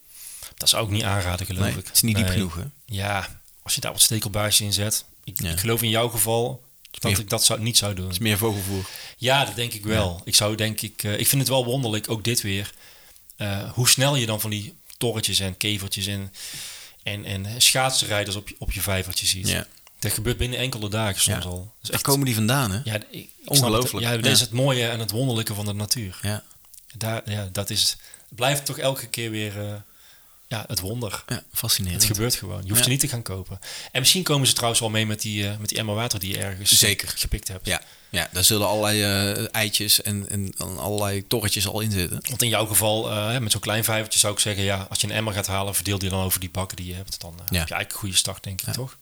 Speaker 2: Dat zou ik niet aanraden, geloof
Speaker 1: Nee,
Speaker 2: ik.
Speaker 1: het is niet diep
Speaker 2: Nee.
Speaker 1: genoeg, hè?
Speaker 2: Ja, als je daar wat stekelbaarsje in zet. Ik,
Speaker 1: Ja.
Speaker 2: ik geloof in jouw geval dat
Speaker 1: meer-
Speaker 2: ik dat zou, niet zou doen.
Speaker 1: Het is meer vogelvoer.
Speaker 2: Ja, dat denk ik wel. Ik zou denk ik, eh, ik vind het wel wonderlijk, ook dit weer, eh, hoe snel je dan van die torretjes en kevertjes en, en, en schaatsrijders op je, op je vijvertje ziet.
Speaker 1: Ja.
Speaker 2: Dat gebeurt binnen enkele dagen soms
Speaker 1: Ja.
Speaker 2: al. Dat is
Speaker 1: Daar komen die vandaan, hè?
Speaker 2: ja, ik- ik, snap het.
Speaker 1: Ongelooflijk.
Speaker 2: Ja, dat
Speaker 1: Ja.
Speaker 2: is het mooie en het wonderlijke van de natuur.
Speaker 1: Ja.
Speaker 2: Daar, ja, dat is, het blijft toch elke keer weer eh, ja, het wonder.
Speaker 1: Ja,
Speaker 2: Het
Speaker 1: fascinerend.
Speaker 2: gebeurt gewoon. Je hoeft
Speaker 1: Ja.
Speaker 2: ze niet te gaan kopen. En misschien komen ze trouwens al mee met die, eh, met die emmer water die je ergens
Speaker 1: Zeker.
Speaker 2: gepikt hebt.
Speaker 1: Ja, ja daar zullen allerlei eh, eitjes en, en, en allerlei torretjes al in zitten.
Speaker 2: Want in jouw geval, eh, met zo'n klein vijvertje zou ik zeggen, ja, als je een emmer gaat halen, verdeel die dan over die bakken die je hebt. Dan eh, heb je eigenlijk een goede start, denk ik, toch?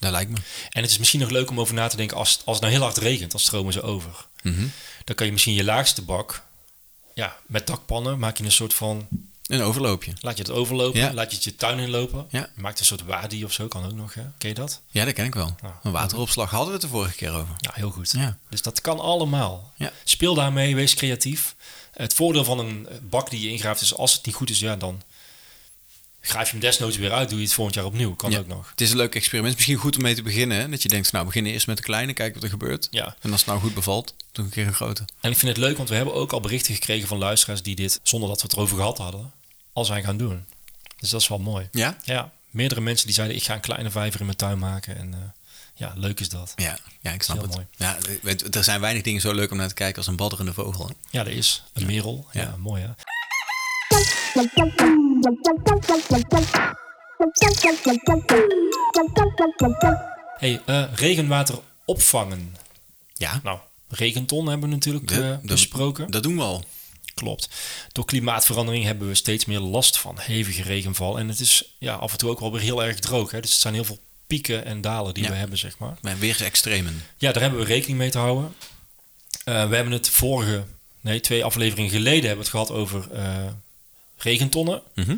Speaker 1: Dat lijkt me.
Speaker 2: En het is misschien nog leuk om over na te denken, als, als het nou heel hard regent, dan stromen ze over.
Speaker 1: Mhm.
Speaker 2: Dan kan je misschien je laagste bak, ja, met dakpannen maak je een soort van,
Speaker 1: Een overloopje.
Speaker 2: laat je het overlopen,
Speaker 1: Ja.
Speaker 2: laat je het je tuin inlopen.
Speaker 1: Ja.
Speaker 2: Maakt een soort wadi of zo, kan ook nog, hè? ken je dat?
Speaker 1: Ja, dat ken ik wel.
Speaker 2: Ja.
Speaker 1: Een wateropslag hadden we het de vorige keer over.
Speaker 2: Ja, heel goed.
Speaker 1: Ja.
Speaker 2: Dus dat kan allemaal.
Speaker 1: Ja.
Speaker 2: Speel daarmee, wees creatief. Het voordeel van een bak die je ingraaft is als het niet goed is, ja, dan graaf je hem desnoods weer uit. Doe je het volgend jaar opnieuw. Kan
Speaker 1: Ja,
Speaker 2: ook nog.
Speaker 1: Het is een leuk experiment. Misschien goed om mee te beginnen. hè? Dat je denkt, nou, we beginnen eerst met een kleine, kijken wat er gebeurt.
Speaker 2: Ja.
Speaker 1: En als het nou goed bevalt, doe een keer een grote.
Speaker 2: En ik vind het leuk, want we hebben ook al berichten gekregen van luisteraars die dit, zonder dat we het erover gehad hadden, al zijn gaan doen. Dus dat is wel mooi.
Speaker 1: Ja?
Speaker 2: Ja, meerdere mensen die zeiden, ik ga een kleine vijver in mijn tuin maken. En eh, ja, leuk is dat.
Speaker 1: Ja, ja ik snap
Speaker 2: Heel
Speaker 1: het.
Speaker 2: mooi.
Speaker 1: Ja, het- er zijn weinig dingen zo leuk om naar te kijken als een badderende vogel. hè?
Speaker 2: Ja, dat is een merel. Ja,
Speaker 1: Ja.
Speaker 2: mooi hè. hey, eh, regenwater opvangen.
Speaker 1: Ja,
Speaker 2: Nou, regenton hebben we natuurlijk
Speaker 1: De-
Speaker 2: eh,
Speaker 1: de-
Speaker 2: besproken.
Speaker 1: dat doen we al.
Speaker 2: Klopt. Door klimaatverandering hebben we steeds meer last van hevige regenval. En het is ja, af en toe ook wel weer heel erg droog. Hè? Dus het zijn heel veel pieken en dalen die
Speaker 1: Ja.
Speaker 2: we hebben, zeg maar.
Speaker 1: Bij weersextremen.
Speaker 2: Ja, daar hebben we rekening mee te houden. Eh, we hebben het vorige, nee, twee afleveringen geleden hebben we het gehad over eh, regentonnen.
Speaker 1: Mhm.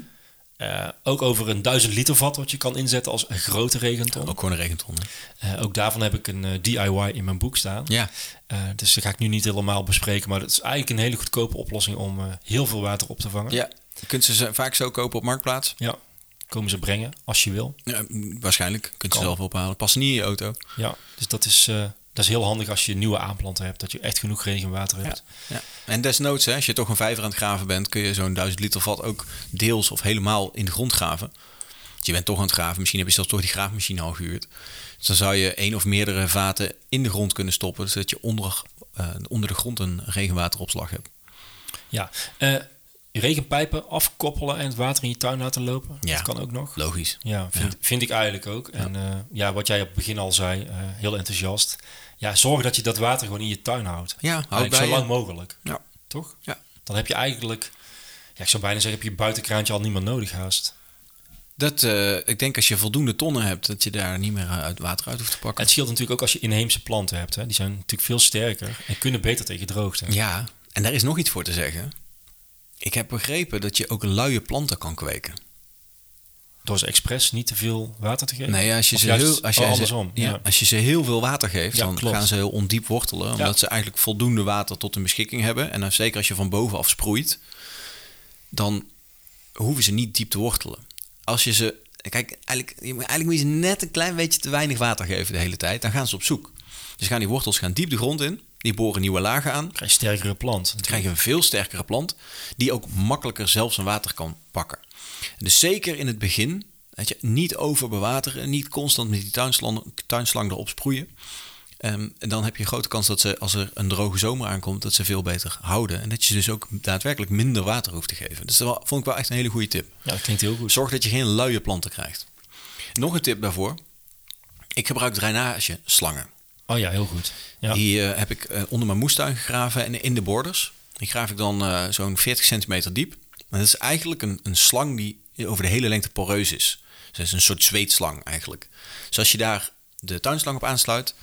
Speaker 2: Eh, ook over een 1000 liter vat wat je kan inzetten als een grote regenton.
Speaker 1: Ook gewoon een regenton. hè?
Speaker 2: Eh, ook daarvan heb ik een eh, DIY in mijn boek staan.
Speaker 1: Ja,
Speaker 2: Eh, dus dat ga ik nu niet helemaal bespreken. Maar dat is eigenlijk een hele goedkope oplossing om eh, heel veel water op te vangen.
Speaker 1: ja. Je kunt ze ze vaak zo kopen op Marktplaats.
Speaker 2: Ja, komen ze brengen als je wil.
Speaker 1: Ja, m, waarschijnlijk. Kunt je
Speaker 2: Kan.
Speaker 1: zelf ophalen. Past niet in je auto.
Speaker 2: Ja, dus dat is, eh, dat is heel handig als je nieuwe aanplanten hebt. Dat je echt genoeg regenwater hebt.
Speaker 1: Ja. En desnoods, hè, als je toch een vijver aan het graven bent, kun je zo'n 1000 liter vat ook deels of helemaal in de grond graven. Want je bent toch aan het graven, misschien heb je zelfs toch die graafmachine al gehuurd. Dus dan zou je één of meerdere vaten in de grond kunnen stoppen, zodat je onder, eh, onder de grond een regenwateropslag hebt.
Speaker 2: Ja, eh, regenpijpen afkoppelen en het water in je tuin laten lopen.
Speaker 1: Ja.
Speaker 2: Dat kan ook nog.
Speaker 1: Logisch.
Speaker 2: Ja, vind, vind ik eigenlijk ook. En eh, ja, wat jij op het begin al zei, eh, heel enthousiast. Ja, zorg dat je dat water gewoon in je tuin houdt.
Speaker 1: Ja,
Speaker 2: Eigenlijk
Speaker 1: houd bij
Speaker 2: zo
Speaker 1: je.
Speaker 2: lang mogelijk.
Speaker 1: Ja.
Speaker 2: Toch?
Speaker 1: Ja.
Speaker 2: Dan heb je eigenlijk, ja, ik zou bijna zeggen, heb je je buitenkraantje al niet meer nodig haast.
Speaker 1: Dat, eh, ik denk als je voldoende tonnen hebt, dat je daar niet meer eh, uit water uit hoeft te pakken.
Speaker 2: Het scheelt natuurlijk ook als je inheemse planten hebt. Hè. Die zijn natuurlijk veel sterker en kunnen beter tegen droogte.
Speaker 1: Ja, en daar is nog iets voor te zeggen. Ik heb begrepen dat je ook luie planten kan kweken.
Speaker 2: Door ze expres niet te veel water te geven.
Speaker 1: Nee, als je,
Speaker 2: Of
Speaker 1: ze
Speaker 2: juist-
Speaker 1: heel, als,
Speaker 2: oh,
Speaker 1: jij ze-
Speaker 2: andersom.
Speaker 1: ja,
Speaker 2: Ja.
Speaker 1: als je ze heel veel water geeft,
Speaker 2: Ja,
Speaker 1: dan
Speaker 2: klopt.
Speaker 1: gaan ze heel ondiep wortelen. Omdat ze eigenlijk voldoende water tot hun beschikking hebben. En dan, zeker als je van bovenaf sproeit, dan hoeven ze niet diep te wortelen. Als je ze... Kijk, eigenlijk, je moet- eigenlijk moet je ze net een klein beetje te weinig water geven de hele tijd. Dan gaan ze op zoek. Dus gaan die wortels gaan diep de grond in. Die boren nieuwe lagen aan.
Speaker 2: krijg je sterkere plant.
Speaker 1: Dan krijg je een veel sterkere plant die ook makkelijker zelf zijn water kan pakken. Dus zeker in het begin, weet je, niet overbewateren, niet constant met die tuinslang, tuinslang erop sproeien. Ehm, en dan heb je een grote kans dat ze, als er een droge zomer aankomt, dat ze veel beter houden. En dat je ze dus ook daadwerkelijk minder water hoeft te geven. Dus dat wa- vond ik wel echt een hele goede tip.
Speaker 2: Ja, dat klinkt heel goed.
Speaker 1: Zorg dat je geen luie planten krijgt. Nog een tip daarvoor. Ik gebruik drainage slangen.
Speaker 2: Oh ja, heel goed. Ja.
Speaker 1: Die eh, heb ik eh, onder mijn moestuin gegraven en in de borders. Die graaf ik dan eh, zo'n 40 centimeter diep. En dat is eigenlijk een, een slang die over de hele lengte poreus is. Dus dat is een soort zweetslang eigenlijk. Dus als je daar de tuinslang op aansluit,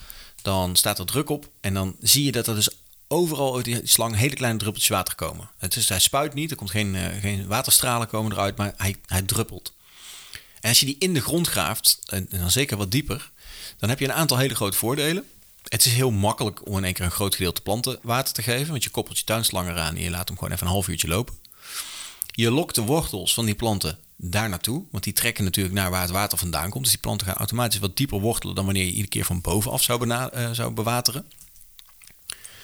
Speaker 1: dan staat er druk op. En dan zie je dat er dus overal uit die slang hele kleine druppeltjes water komen. Het is, hij spuit niet, er komt geen, eh, geen waterstralen komen eruit, maar hij, hij druppelt. En als je die in de grond graaft, en en dan zeker wat dieper, dan heb je een aantal hele grote voordelen. Het is heel makkelijk om in één keer een groot gedeelte planten water te geven, want je koppelt je tuinslang eraan en je laat hem gewoon even een half uurtje lopen. Je lokt de wortels van die planten daar naartoe, want die trekken natuurlijk naar waar het water vandaan komt. Dus die planten gaan automatisch wat dieper wortelen dan wanneer je iedere keer van bovenaf zou, bena- eh, zou bewateren.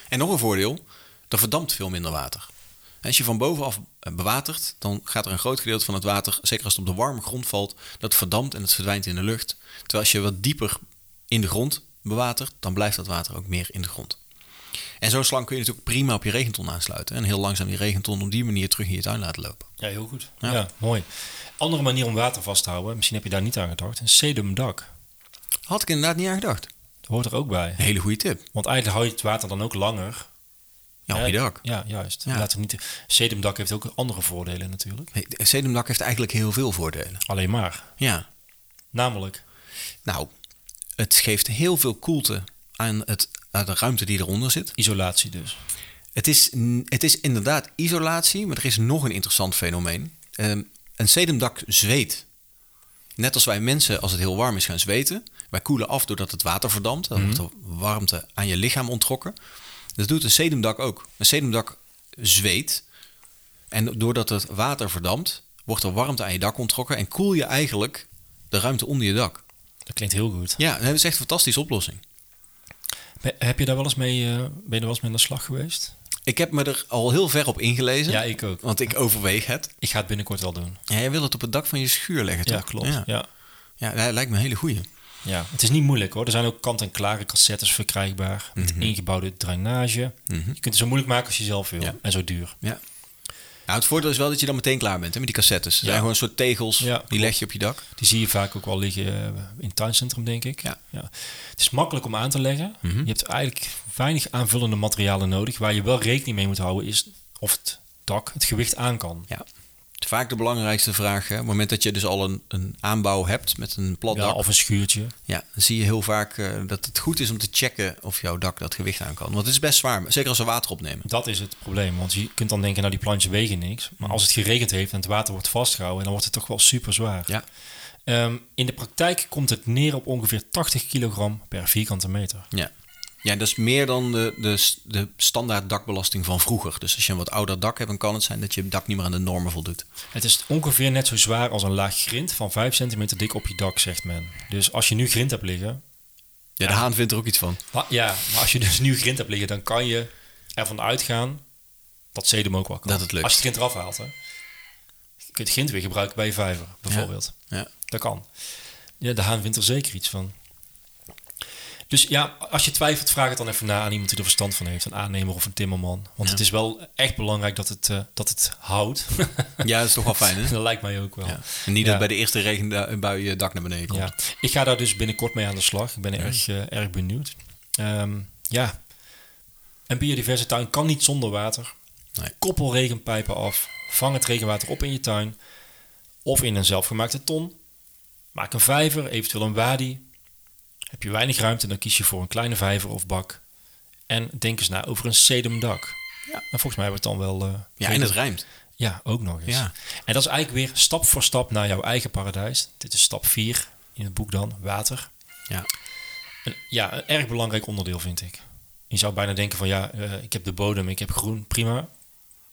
Speaker 1: En nog een voordeel, er verdampt veel minder water. Als je van bovenaf eh, bewatert, dan gaat er een groot gedeelte van het water, zeker als het op de warme grond valt, dat verdampt en het verdwijnt in de lucht. Terwijl als je wat dieper in de grond bewatert, dan blijft dat water ook meer in de grond. En zo'n slang kun je natuurlijk prima op je regenton aansluiten. En heel langzaam die regenton op die manier terug in je tuin laten lopen.
Speaker 2: Ja, heel goed. Ja. mooi. Andere manier om water vast te houden, misschien heb je daar niet aan gedacht, een sedumdak.
Speaker 1: Had ik inderdaad niet aan gedacht.
Speaker 2: Dat hoort er ook bij.
Speaker 1: Een hele goede tip.
Speaker 2: Want eigenlijk hou je het water dan ook langer.
Speaker 1: Ja, op
Speaker 2: Hè?
Speaker 1: je dak.
Speaker 2: Ja, juist.
Speaker 1: Ja.
Speaker 2: Laat het niet... Sedumdak heeft ook andere voordelen natuurlijk.
Speaker 1: Nee, de Sedumdak heeft eigenlijk heel veel voordelen.
Speaker 2: Alleen maar.
Speaker 1: Ja.
Speaker 2: Namelijk,
Speaker 1: Nou, het geeft heel veel koelte aan, het, aan de ruimte die eronder zit.
Speaker 2: isolatie dus.
Speaker 1: Het is, n- het is inderdaad isolatie, maar er is nog een interessant fenomeen. Ehm, een sedumdak zweet. Net als wij mensen, als het heel warm is, gaan zweten. Wij koelen af doordat het water verdampt. Dan wordt de warmte aan je lichaam ontrokken. Dat doet een sedumdak ook. Een sedumdak zweet. En doordat het water verdampt, wordt er warmte aan je dak onttrokken en koel je eigenlijk de ruimte onder je dak.
Speaker 2: Dat klinkt heel goed.
Speaker 1: Ja, dat is echt een fantastische oplossing.
Speaker 2: Be- heb je daar wel eens mee, eh, ben je er wel eens mee aan de slag geweest?
Speaker 1: Ik heb me er al heel ver op ingelezen.
Speaker 2: Ja, ik ook.
Speaker 1: Want ik overweeg het.
Speaker 2: Ik ga het binnenkort wel doen.
Speaker 1: Ja, jij wil het op het dak van je schuur leggen, toch?
Speaker 2: Ja, klopt. Ja. Ja.
Speaker 1: Ja, dat lijkt me een hele goeie.
Speaker 2: Het is niet moeilijk hoor. Er zijn ook kant-en-klare cassettes verkrijgbaar. Met ingebouwde drainage. Je kunt het zo moeilijk maken als je zelf wil.
Speaker 1: Ja.
Speaker 2: En zo duur.
Speaker 1: Ja. Nou, het voordeel is wel dat je dan meteen klaar bent hè, met die cassettes. Het
Speaker 2: Ja.
Speaker 1: zijn gewoon een soort tegels,
Speaker 2: Ja,
Speaker 1: die
Speaker 2: klopt.
Speaker 1: leg je op je dak.
Speaker 2: Die zie je vaak ook wel liggen eh, in het tuincentrum, denk ik.
Speaker 1: Ja.
Speaker 2: Het is makkelijk om aan te leggen. Je hebt eigenlijk weinig aanvullende materialen nodig. Waar je wel rekening mee moet houden is of het dak het gewicht aan kan.
Speaker 1: Ja. Het is vaak de belangrijkste vraag. Hè. Op het moment dat je dus al een, een aanbouw hebt met een plat
Speaker 2: Ja,
Speaker 1: dak,
Speaker 2: of een schuurtje.
Speaker 1: ja, dan zie je heel vaak eh, dat het goed is om te checken of jouw dak dat gewicht aan kan. Want het is best zwaar, zeker als we water opnemen.
Speaker 2: Dat is het probleem. Want je kunt dan denken, nou die plantjes wegen niks. Maar als het geregend heeft en het water wordt vastgehouden, dan wordt het toch wel super zwaar.
Speaker 1: Ja.
Speaker 2: Ehm, in de praktijk komt het neer op ongeveer 80 kilogram per vierkante meter.
Speaker 1: Ja. Ja, dat is meer dan de, de, s- de standaard dakbelasting van vroeger. Dus als je een wat ouder dak hebt, dan kan het zijn dat je dak niet meer aan de normen voldoet.
Speaker 2: Het is ongeveer net zo zwaar als een laag grind van 5 centimeter dik op je dak, zegt men. Dus als je nu grind hebt liggen,
Speaker 1: Ja, de haan vindt er ook iets van.
Speaker 2: maar, ja, maar als je dus nu grind hebt liggen, dan kan je ervan uitgaan dat sedum ook wel kan.
Speaker 1: Dat het lukt.
Speaker 2: Als je het grind eraf haalt, hè. Je kunt grind weer gebruiken bij je vijver, bijvoorbeeld.
Speaker 1: Ja.
Speaker 2: Dat kan. Ja, de haan vindt er zeker iets van. Dus ja, als je twijfelt, vraag het dan even na aan iemand die er verstand van heeft. Een aannemer of een timmerman. Want het is wel echt belangrijk dat het, eh, dat het houdt.
Speaker 1: ja, dat is toch wel fijn, hè?
Speaker 2: dat lijkt mij ook wel.
Speaker 1: Ja.
Speaker 2: Ja.
Speaker 1: En niet dat
Speaker 2: Ja.
Speaker 1: bij de eerste regenbui je dak naar beneden komt.
Speaker 2: Ik ga daar dus binnenkort mee aan de slag. Ik ben erg, eh, erg benieuwd. Ehm, ja. Een biodiverse tuin kan niet zonder water.
Speaker 1: Nee.
Speaker 2: Koppel regenpijpen af. Vang het regenwater op in je tuin. Of in een zelfgemaakte ton. Maak een vijver, eventueel een wadi. Heb je weinig ruimte, dan kies je voor een kleine vijver of bak. En denk eens na over een sedumdak.
Speaker 1: Ja.
Speaker 2: En volgens mij hebben we het dan wel... eh,
Speaker 1: Ja, en het rijmt.
Speaker 2: ja, ook nog eens.
Speaker 1: Ja.
Speaker 2: En dat is eigenlijk weer stap voor stap naar jouw eigen paradijs. Dit is stap 4 in het boek dan, water.
Speaker 1: Ja.
Speaker 2: Een- ja, een erg belangrijk onderdeel vind ik. Je zou bijna denken van ja, eh, ik heb de bodem, ik heb groen, prima.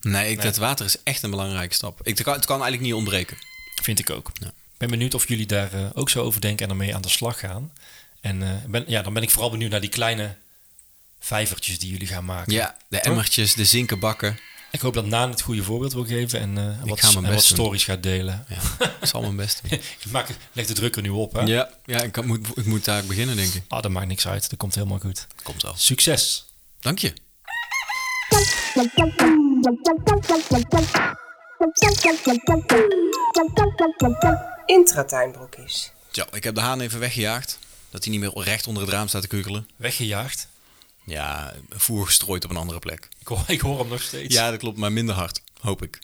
Speaker 1: Nee, ik, dat water is echt een belangrijke stap. Ik, het, kan, het kan eigenlijk niet ontbreken.
Speaker 2: Vind ik ook.
Speaker 1: Ja.
Speaker 2: Ik ben benieuwd of jullie daar eh, ook zo over denken en ermee aan de slag gaan. En eh, ben, ja, dan ben ik vooral benieuwd naar die kleine vijvertjes die jullie gaan maken.
Speaker 1: Ja, de emmertjes, de zinkenbakken.
Speaker 2: Ik hoop dat Naan het goede voorbeeld wil geven en eh, wat,
Speaker 1: ga mijn
Speaker 2: en
Speaker 1: best
Speaker 2: wat
Speaker 1: doen.
Speaker 2: stories gaat delen.
Speaker 1: Ja, dat is allemaal best.
Speaker 2: ik maak, leg de druk er nu op. Hè?
Speaker 1: Ja, ja ik, kan- moet, ik moet daar beginnen, denk ik.
Speaker 2: Ah, dat maakt niks uit. Dat komt helemaal goed.
Speaker 1: Komt wel.
Speaker 2: Succes!
Speaker 1: Dank je.
Speaker 4: Intratuinbroekjes.
Speaker 1: Zo, ik heb de haan even weggejaagd. Dat hij niet meer recht onder het raam staat te kukelen.
Speaker 2: Weggejaagd.
Speaker 1: Ja, voer gestrooid op een andere plek.
Speaker 2: Ik hoor, ik hoor hem nog steeds.
Speaker 1: Ja, dat klopt, maar minder hard. Hoop ik.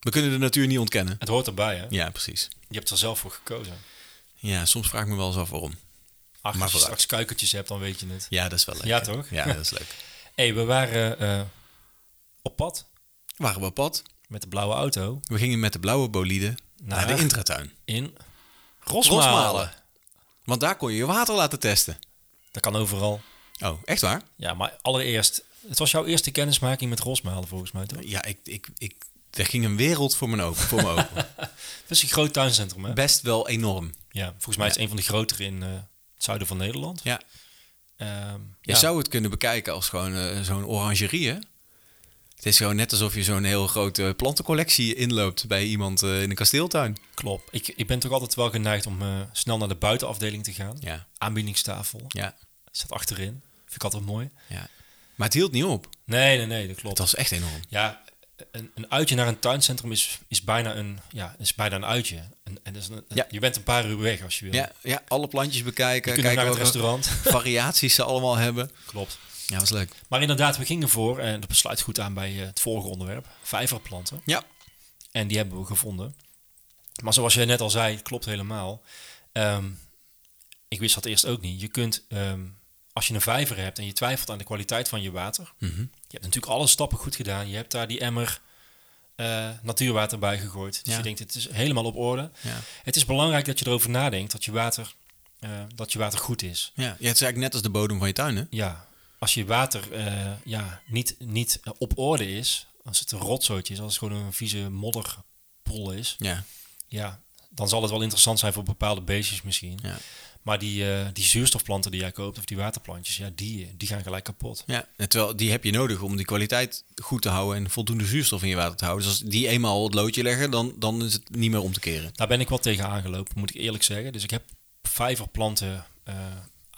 Speaker 1: We kunnen de natuur niet ontkennen.
Speaker 2: Het hoort erbij, hè?
Speaker 1: Ja, precies.
Speaker 2: Je hebt er zelf voor gekozen.
Speaker 1: Ja, soms vraag ik me wel eens af waarom. Maar
Speaker 2: Ach, als je
Speaker 1: vooruit.
Speaker 2: straks kuikertjes hebt, dan weet je het.
Speaker 1: Ja, dat is wel leuk.
Speaker 2: Ja,
Speaker 1: hè?
Speaker 2: toch?
Speaker 1: Ja, dat is leuk.
Speaker 2: Hé, hey, we waren eh, op pad
Speaker 1: Waren we op pad?
Speaker 2: met de blauwe auto
Speaker 1: We gingen met de blauwe bolide naar de
Speaker 2: Naar?
Speaker 1: intratuin.
Speaker 2: in Rosmalen.
Speaker 1: Rosmalen. Want daar kon je je water laten testen.
Speaker 2: Dat kan overal.
Speaker 1: Oh, echt waar?
Speaker 2: Ja, maar allereerst, het was jouw eerste kennismaking met Rosmalen volgens mij, toch?
Speaker 1: Ja, ik, ik, ik, er ging een wereld voor mijn ogen. Voor mijn ogen.
Speaker 2: Het is een groot tuincentrum, hè?
Speaker 1: Best wel enorm.
Speaker 2: Ja, volgens mij is het een van de grotere in eh, het zuiden van Nederland.
Speaker 1: Ja.
Speaker 2: Ehm,
Speaker 1: Je zou het kunnen bekijken als gewoon eh, zo'n orangerie, hè? Het is gewoon net alsof je zo'n heel grote plantencollectie inloopt bij iemand eh, in een kasteeltuin.
Speaker 2: Klopt. Ik, ik ben toch altijd wel geneigd om eh, snel naar de buitenafdeling te gaan.
Speaker 1: Ja.
Speaker 2: Aanbiedingstafel.
Speaker 1: Ja,
Speaker 2: Staat achterin. Vind ik altijd mooi.
Speaker 1: ja. Maar het hield niet op.
Speaker 2: Nee, nee, nee, dat
Speaker 1: Het
Speaker 2: klopt.
Speaker 1: was echt enorm.
Speaker 2: Ja, een, een uitje naar een tuincentrum is, is, bijna, een, ja, is bijna een uitje. En, en dat is een,
Speaker 1: Ja.
Speaker 2: Je bent een paar uur weg als je wil.
Speaker 1: Ja, ja alle plantjes bekijken.
Speaker 2: je kunt ook naar het
Speaker 1: welke
Speaker 2: restaurant.
Speaker 1: variaties ze allemaal hebben.
Speaker 2: Klopt.
Speaker 1: Ja, was leuk.
Speaker 2: Maar inderdaad, we gingen voor, en dat besluit goed aan bij eh, het vorige onderwerp, vijverplanten.
Speaker 1: Ja,
Speaker 2: En die hebben we gevonden. Maar zoals jij net al zei, klopt helemaal. Ehm, ik wist dat eerst ook niet. Je kunt, ehm, als je een vijver hebt en je twijfelt aan de kwaliteit van je water.
Speaker 1: Mhm.
Speaker 2: Je hebt natuurlijk alle stappen goed gedaan. Je hebt daar die emmer eh, natuurwater bij gegooid. Dus
Speaker 1: Ja.
Speaker 2: je denkt, het is helemaal op orde.
Speaker 1: Ja.
Speaker 2: Het is belangrijk dat je erover nadenkt dat je water, eh, dat je water goed is.
Speaker 1: Ja, ja, het is eigenlijk net als de bodem van je tuin, hè?
Speaker 2: Ja, als je water eh, ja, niet, niet eh, op orde is, als het een rotzootje is, als het gewoon een vieze modderpol is,
Speaker 1: Ja,
Speaker 2: ja, dan zal het wel interessant zijn voor bepaalde beestjes misschien.
Speaker 1: ja.
Speaker 2: Maar die, eh, die zuurstofplanten die jij koopt, of die waterplantjes, ja, die, eh, die gaan gelijk kapot.
Speaker 1: ja. En terwijl die heb je nodig om die kwaliteit goed te houden en voldoende zuurstof in je water te houden. Dus als die eenmaal het loodje leggen, dan, dan is het niet meer om te keren.
Speaker 2: Daar ben ik wel tegen aangelopen, moet ik eerlijk zeggen. Dus ik heb vijverplanten. eh,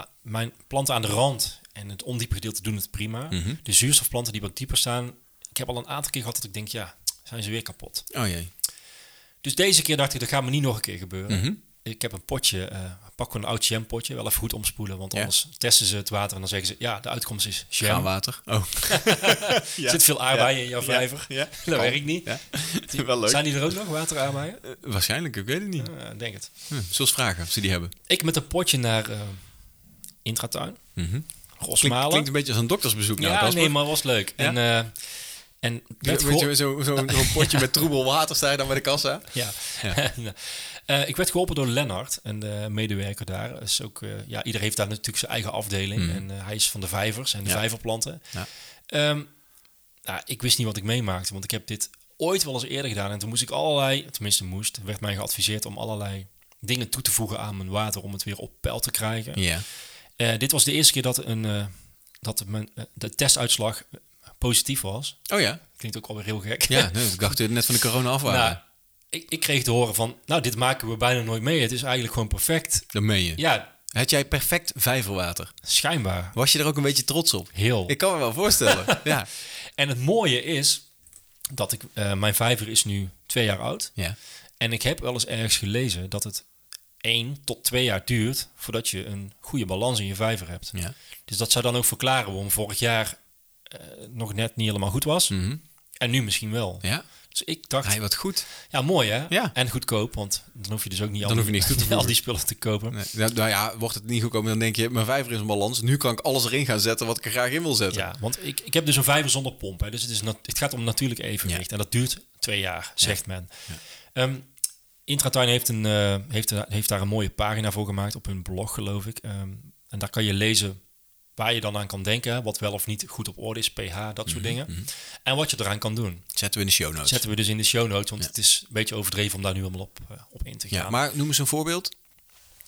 Speaker 2: a- mijn planten aan de rand en het ondiepe gedeelte doen het prima.
Speaker 1: Mhm.
Speaker 2: De zuurstofplanten die wat dieper staan, ik heb al een aantal keer gehad dat ik denk, ja, zijn ze weer kapot.
Speaker 1: Oh jee.
Speaker 2: Dus deze keer dacht ik, dat gaat me niet nog een keer gebeuren.
Speaker 1: Mhm.
Speaker 2: Ik heb een potje, eh pak gewoon een oud jampotje, wel even goed omspoelen, want
Speaker 1: Ja.
Speaker 2: anders testen ze het water en dan zeggen ze, ja, de uitkomst is jam.
Speaker 1: Graanwater. Oh.
Speaker 2: Er zit veel aardbeien in jouw vijver.
Speaker 1: Ja.
Speaker 2: Dat werkt niet.
Speaker 1: Ja.
Speaker 2: Die-
Speaker 1: Wel leuk.
Speaker 2: Zijn die er ook nog, wateraardbeien?
Speaker 1: Eh, waarschijnlijk, ik weet het niet.
Speaker 2: Eh, denk het.
Speaker 1: Hm, Zullen we vragen of ze die hebben?
Speaker 2: Ik met een potje naar eh, Intratuin.
Speaker 1: Mhm.
Speaker 2: Rosmalen.
Speaker 1: Klinkt, klinkt een beetje als een doktersbezoek. nou,
Speaker 2: ja,
Speaker 1: Casper.
Speaker 2: nee, maar was leuk. En, eh, en
Speaker 1: Weet
Speaker 2: werd
Speaker 1: je,
Speaker 2: geholpen-
Speaker 1: zo- zo'n zo'n potje met troebel water sta je dan bij de kassa.
Speaker 2: ja. Eh, ik werd geholpen door Lennart, een eh, medewerker daar. Is ook, eh, ja, ieder heeft daar natuurlijk zijn eigen afdeling. En eh, hij is van de vijvers en de
Speaker 1: Mhm. Ja.
Speaker 2: vijverplanten.
Speaker 1: Ja.
Speaker 2: Ehm, nou, ik wist niet wat ik meemaakte, want ik heb dit ooit wel eens eerder gedaan. En toen moest ik allerlei, tenminste moest, werd mij geadviseerd om allerlei dingen toe te voegen aan mijn water om het weer op peil te krijgen.
Speaker 1: Ja.
Speaker 2: Eh, dit was de eerste keer dat, een, eh, dat mijn, eh, de testuitslag positief was.
Speaker 1: Oh ja?
Speaker 2: Klinkt ook alweer heel gek.
Speaker 1: Ja, nee, ik dacht dat we net van de corona af waren.
Speaker 2: Nou, ik, ik kreeg te horen van, nou, dit maken we bijna nooit mee. Het is eigenlijk gewoon perfect.
Speaker 1: dat meen je.
Speaker 2: Ja,
Speaker 1: Had jij perfect vijverwater?
Speaker 2: schijnbaar.
Speaker 1: Was je er ook een beetje trots op?
Speaker 2: Heel.
Speaker 1: Ik kan me wel voorstellen. ja.
Speaker 2: En het mooie is dat ik, eh, mijn vijver is nu twee jaar oud.
Speaker 1: ja.
Speaker 2: En ik heb wel eens ergens gelezen dat het één tot twee jaar duurt voordat je een goede balans in je vijver hebt.
Speaker 1: Ja.
Speaker 2: Dus dat zou dan ook verklaren waarom vorig jaar eh, nog net niet helemaal goed was.
Speaker 1: Mhm.
Speaker 2: En nu misschien wel.
Speaker 1: Ja.
Speaker 2: Dus ik dacht,
Speaker 1: Hij wat goed.
Speaker 2: ja, mooi hè?
Speaker 1: Ja.
Speaker 2: En goedkoop, want dan hoef je dus ook niet,
Speaker 1: Dan hoef je niks toe te
Speaker 2: al
Speaker 1: voegen.
Speaker 2: die spullen te kopen.
Speaker 1: Nee, nou nou ja, wordt het niet goedkomen, dan denk je, mijn vijver is een balans. Nu kan ik alles erin gaan zetten wat ik er graag in wil zetten.
Speaker 2: Ja, want ik, ik heb dus een vijver zonder pomp. Hè, dus het, is nat- het gaat om natuurlijk evenwicht. En dat duurt twee jaar, zegt men. Ehm, Intratuin heeft, een, eh, heeft, een- heeft daar een mooie pagina voor gemaakt op hun blog, geloof ik. Ehm, en daar kan je lezen waar je dan aan kan denken. hè, Wat wel of niet goed op orde is, pH, dat soort
Speaker 1: Mhm,
Speaker 2: dingen. En wat je eraan kan doen.
Speaker 1: Zetten we in de show notes.
Speaker 2: Zetten we dus in de show notes, want het is een beetje overdreven om daar nu helemaal op, eh, op in te gaan.
Speaker 1: ja. Maar noem eens een voorbeeld.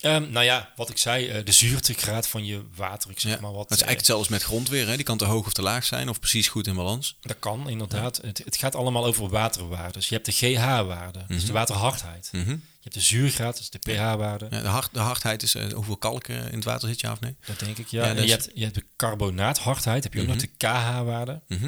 Speaker 2: Ehm, nou ja, wat ik zei, eh, de zuurtegraad van je water, ik zeg
Speaker 1: Ja.
Speaker 2: maar wat.
Speaker 1: dat is
Speaker 2: eh,
Speaker 1: eigenlijk hetzelfde als met grondweer. Hè? Die kan te hoog of te laag zijn of precies goed in balans.
Speaker 2: Dat kan, inderdaad. Het, het gaat allemaal over waterwaarden. Dus je hebt de GH-waarde, dus de waterhardheid.
Speaker 1: Mhm.
Speaker 2: Je hebt de zuurgraad, dus de pH-waarde.
Speaker 1: Ja, de, hard, de hardheid is eh, hoeveel kalk eh, in het water zit, ja of nee?
Speaker 2: Dat denk ik, ja.
Speaker 1: Ja,
Speaker 2: En
Speaker 1: dat
Speaker 2: je,
Speaker 1: is-
Speaker 2: hebt, je hebt de carbonaathardheid, heb je ook nog de KH-waarde.
Speaker 1: Mhm.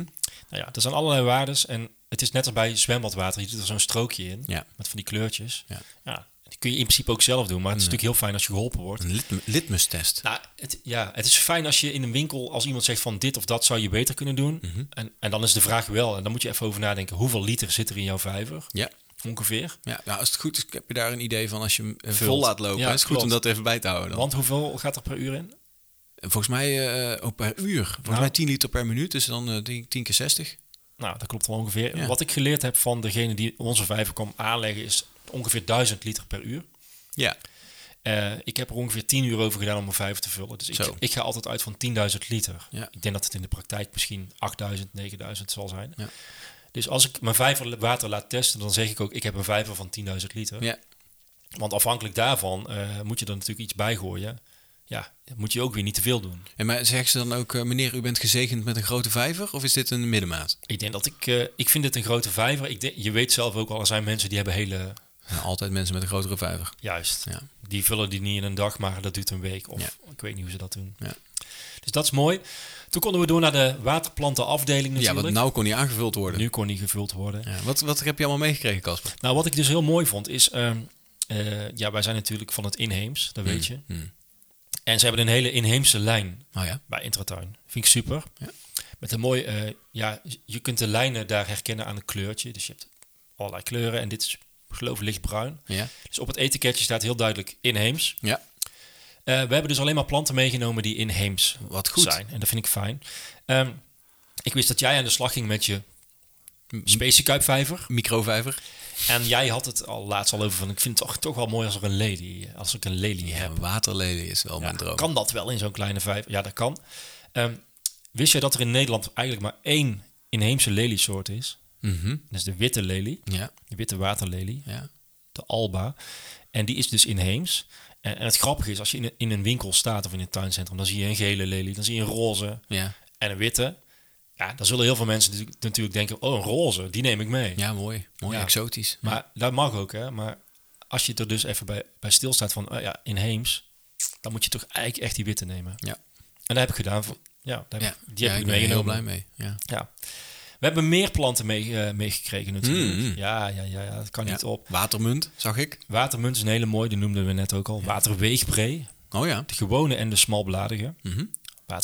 Speaker 2: Nou ja, dat zijn allerlei waardes. En het is net als bij zwembadwater. Je doet er zo'n strookje in,
Speaker 1: Ja.
Speaker 2: met van die kleurtjes.
Speaker 1: Ja.
Speaker 2: die kun je in principe ook zelf doen, maar het is natuurlijk heel fijn als je geholpen wordt.
Speaker 1: Een litm- litmus-test.
Speaker 2: Nou, het, ja, het is fijn als je in een winkel, als iemand zegt van dit of dat zou je beter kunnen doen.
Speaker 1: Mhm.
Speaker 2: en, en dan is de vraag wel, en dan moet je even over nadenken, hoeveel liter zit er in jouw vijver?
Speaker 1: Ja.
Speaker 2: Ongeveer.
Speaker 1: Ja, nou, als het goed is, heb je daar een idee van als je hem eh, vol
Speaker 2: Vult.
Speaker 1: laat lopen.
Speaker 2: Ja,
Speaker 1: hè, is het goed
Speaker 2: klopt.
Speaker 1: om dat even bij te houden. Dan.
Speaker 2: Want hoeveel gaat er per uur in?
Speaker 1: En Volgens mij eh, ook per uur. Volgens
Speaker 2: Nou.
Speaker 1: mij 10 liter per minuut, dus dan eh, denk ik 10 keer 60.
Speaker 2: Nou, dat klopt wel ongeveer.
Speaker 1: Ja.
Speaker 2: Wat ik geleerd heb van degene die onze vijver kwam aanleggen is ongeveer 1000 liter per uur.
Speaker 1: Ja.
Speaker 2: Eh, ik heb er ongeveer 10 uur over gedaan om mijn vijver te vullen. Dus ik,
Speaker 1: Zo.
Speaker 2: ik ga altijd uit van 10.000 liter.
Speaker 1: Ja.
Speaker 2: Ik denk dat het in de praktijk misschien 8.000, 9.000 zal zijn.
Speaker 1: Ja.
Speaker 2: Dus als ik mijn vijver water laat testen, dan zeg ik ook ik heb een vijver van 10.000 liter.
Speaker 1: ja.
Speaker 2: Want afhankelijk daarvan eh, moet je er natuurlijk iets bij gooien. Ja, moet je ook weer niet te veel doen.
Speaker 1: En maar zeggen ze dan ook, eh, meneer, u bent gezegend met een grote vijver? Of is dit een middenmaat?
Speaker 2: Ik denk dat ik, eh, ik vind het een grote vijver. Ik denk, je weet zelf ook al, er zijn mensen die hebben hele,
Speaker 1: Nou, altijd mensen met een grotere vijver.
Speaker 2: juist,
Speaker 1: Ja.
Speaker 2: die vullen die niet in een dag, maar dat duurt een week. Of ik weet niet hoe ze dat doen.
Speaker 1: Ja.
Speaker 2: Dus dat is mooi. Toen konden we door naar de waterplantenafdeling
Speaker 1: Ja,
Speaker 2: natuurlijk.
Speaker 1: want nou kon die aangevuld worden.
Speaker 2: Nu kon die gevuld worden.
Speaker 1: Ja, wat, wat heb je allemaal meegekregen, Casper?
Speaker 2: Nou, wat ik dus heel mooi vond is, ehm, eh, ja, wij zijn natuurlijk van het inheems, dat weet je.
Speaker 1: Hmm.
Speaker 2: En ze hebben een hele inheemse lijn
Speaker 1: Nou ja.
Speaker 2: bij Intratuin. Vind ik super.
Speaker 1: Ja.
Speaker 2: Met een mooi, eh, ja, je kunt de lijnen daar herkennen aan een kleurtje. Dus je hebt allerlei kleuren en dit is geloof ik lichtbruin.
Speaker 1: Ja.
Speaker 2: Dus op het etiketje staat heel duidelijk inheems.
Speaker 1: Ja.
Speaker 2: Eh, we hebben dus alleen maar planten meegenomen die inheems
Speaker 1: Wat goed.
Speaker 2: zijn. En dat vind ik fijn. Ehm, ik wist dat jij aan de slag ging met je
Speaker 1: M-
Speaker 2: speciekuipvijver.
Speaker 1: Microvijver.
Speaker 2: En jij had het al laatst al over van ik vind het toch, toch wel mooi als er een lady, eh, als ik een lady heb. Oh.
Speaker 1: Waterleden is wel mijn droom.
Speaker 2: Kan dat wel in zo'n kleine vijver? Ja, dat kan. Ehm, Wist jij dat er in Nederland eigenlijk maar één inheemse leliesoort is?
Speaker 1: Mhm.
Speaker 2: Dat is de witte lelie,
Speaker 1: Ja,
Speaker 2: de witte waterlelie,
Speaker 1: ja.
Speaker 2: de alba. En die is dus inheems. En, en het grappige is, als je in een, in een winkel staat of in een tuincentrum, dan zie je een gele lelie, dan zie je een roze
Speaker 1: Ja,
Speaker 2: en een witte. Ja, dan zullen heel veel mensen natuurlijk- natuurlijk denken, oh, een roze, die neem ik mee.
Speaker 1: ja mooi. Mooi,
Speaker 2: Ja.
Speaker 1: exotisch.
Speaker 2: Maar dat mag ook, hè. Maar als je er dus even bij, bij stilstaat van, oh ja, inheems, dan moet je toch eigenlijk echt die witte nemen.
Speaker 1: Ja.
Speaker 2: En dat heb ik gedaan. Voor, ja, daar heb
Speaker 1: ja.
Speaker 2: ik- die
Speaker 1: ja,
Speaker 2: heb ik
Speaker 1: ik ben er heel
Speaker 2: meegenomen.
Speaker 1: blij mee. Ja.
Speaker 2: Ja. We hebben meer planten mee, eh, meegekregen natuurlijk.
Speaker 1: Mm.
Speaker 2: Ja, ja, ja, ja, dat kan niet
Speaker 1: Ja.
Speaker 2: op.
Speaker 1: Watermunt, zag ik.
Speaker 2: Watermunt is een hele mooie, die noemden we net ook al. Waterweegbree,
Speaker 1: Oh ja.
Speaker 2: de gewone en de smalbladige.
Speaker 1: Mhm.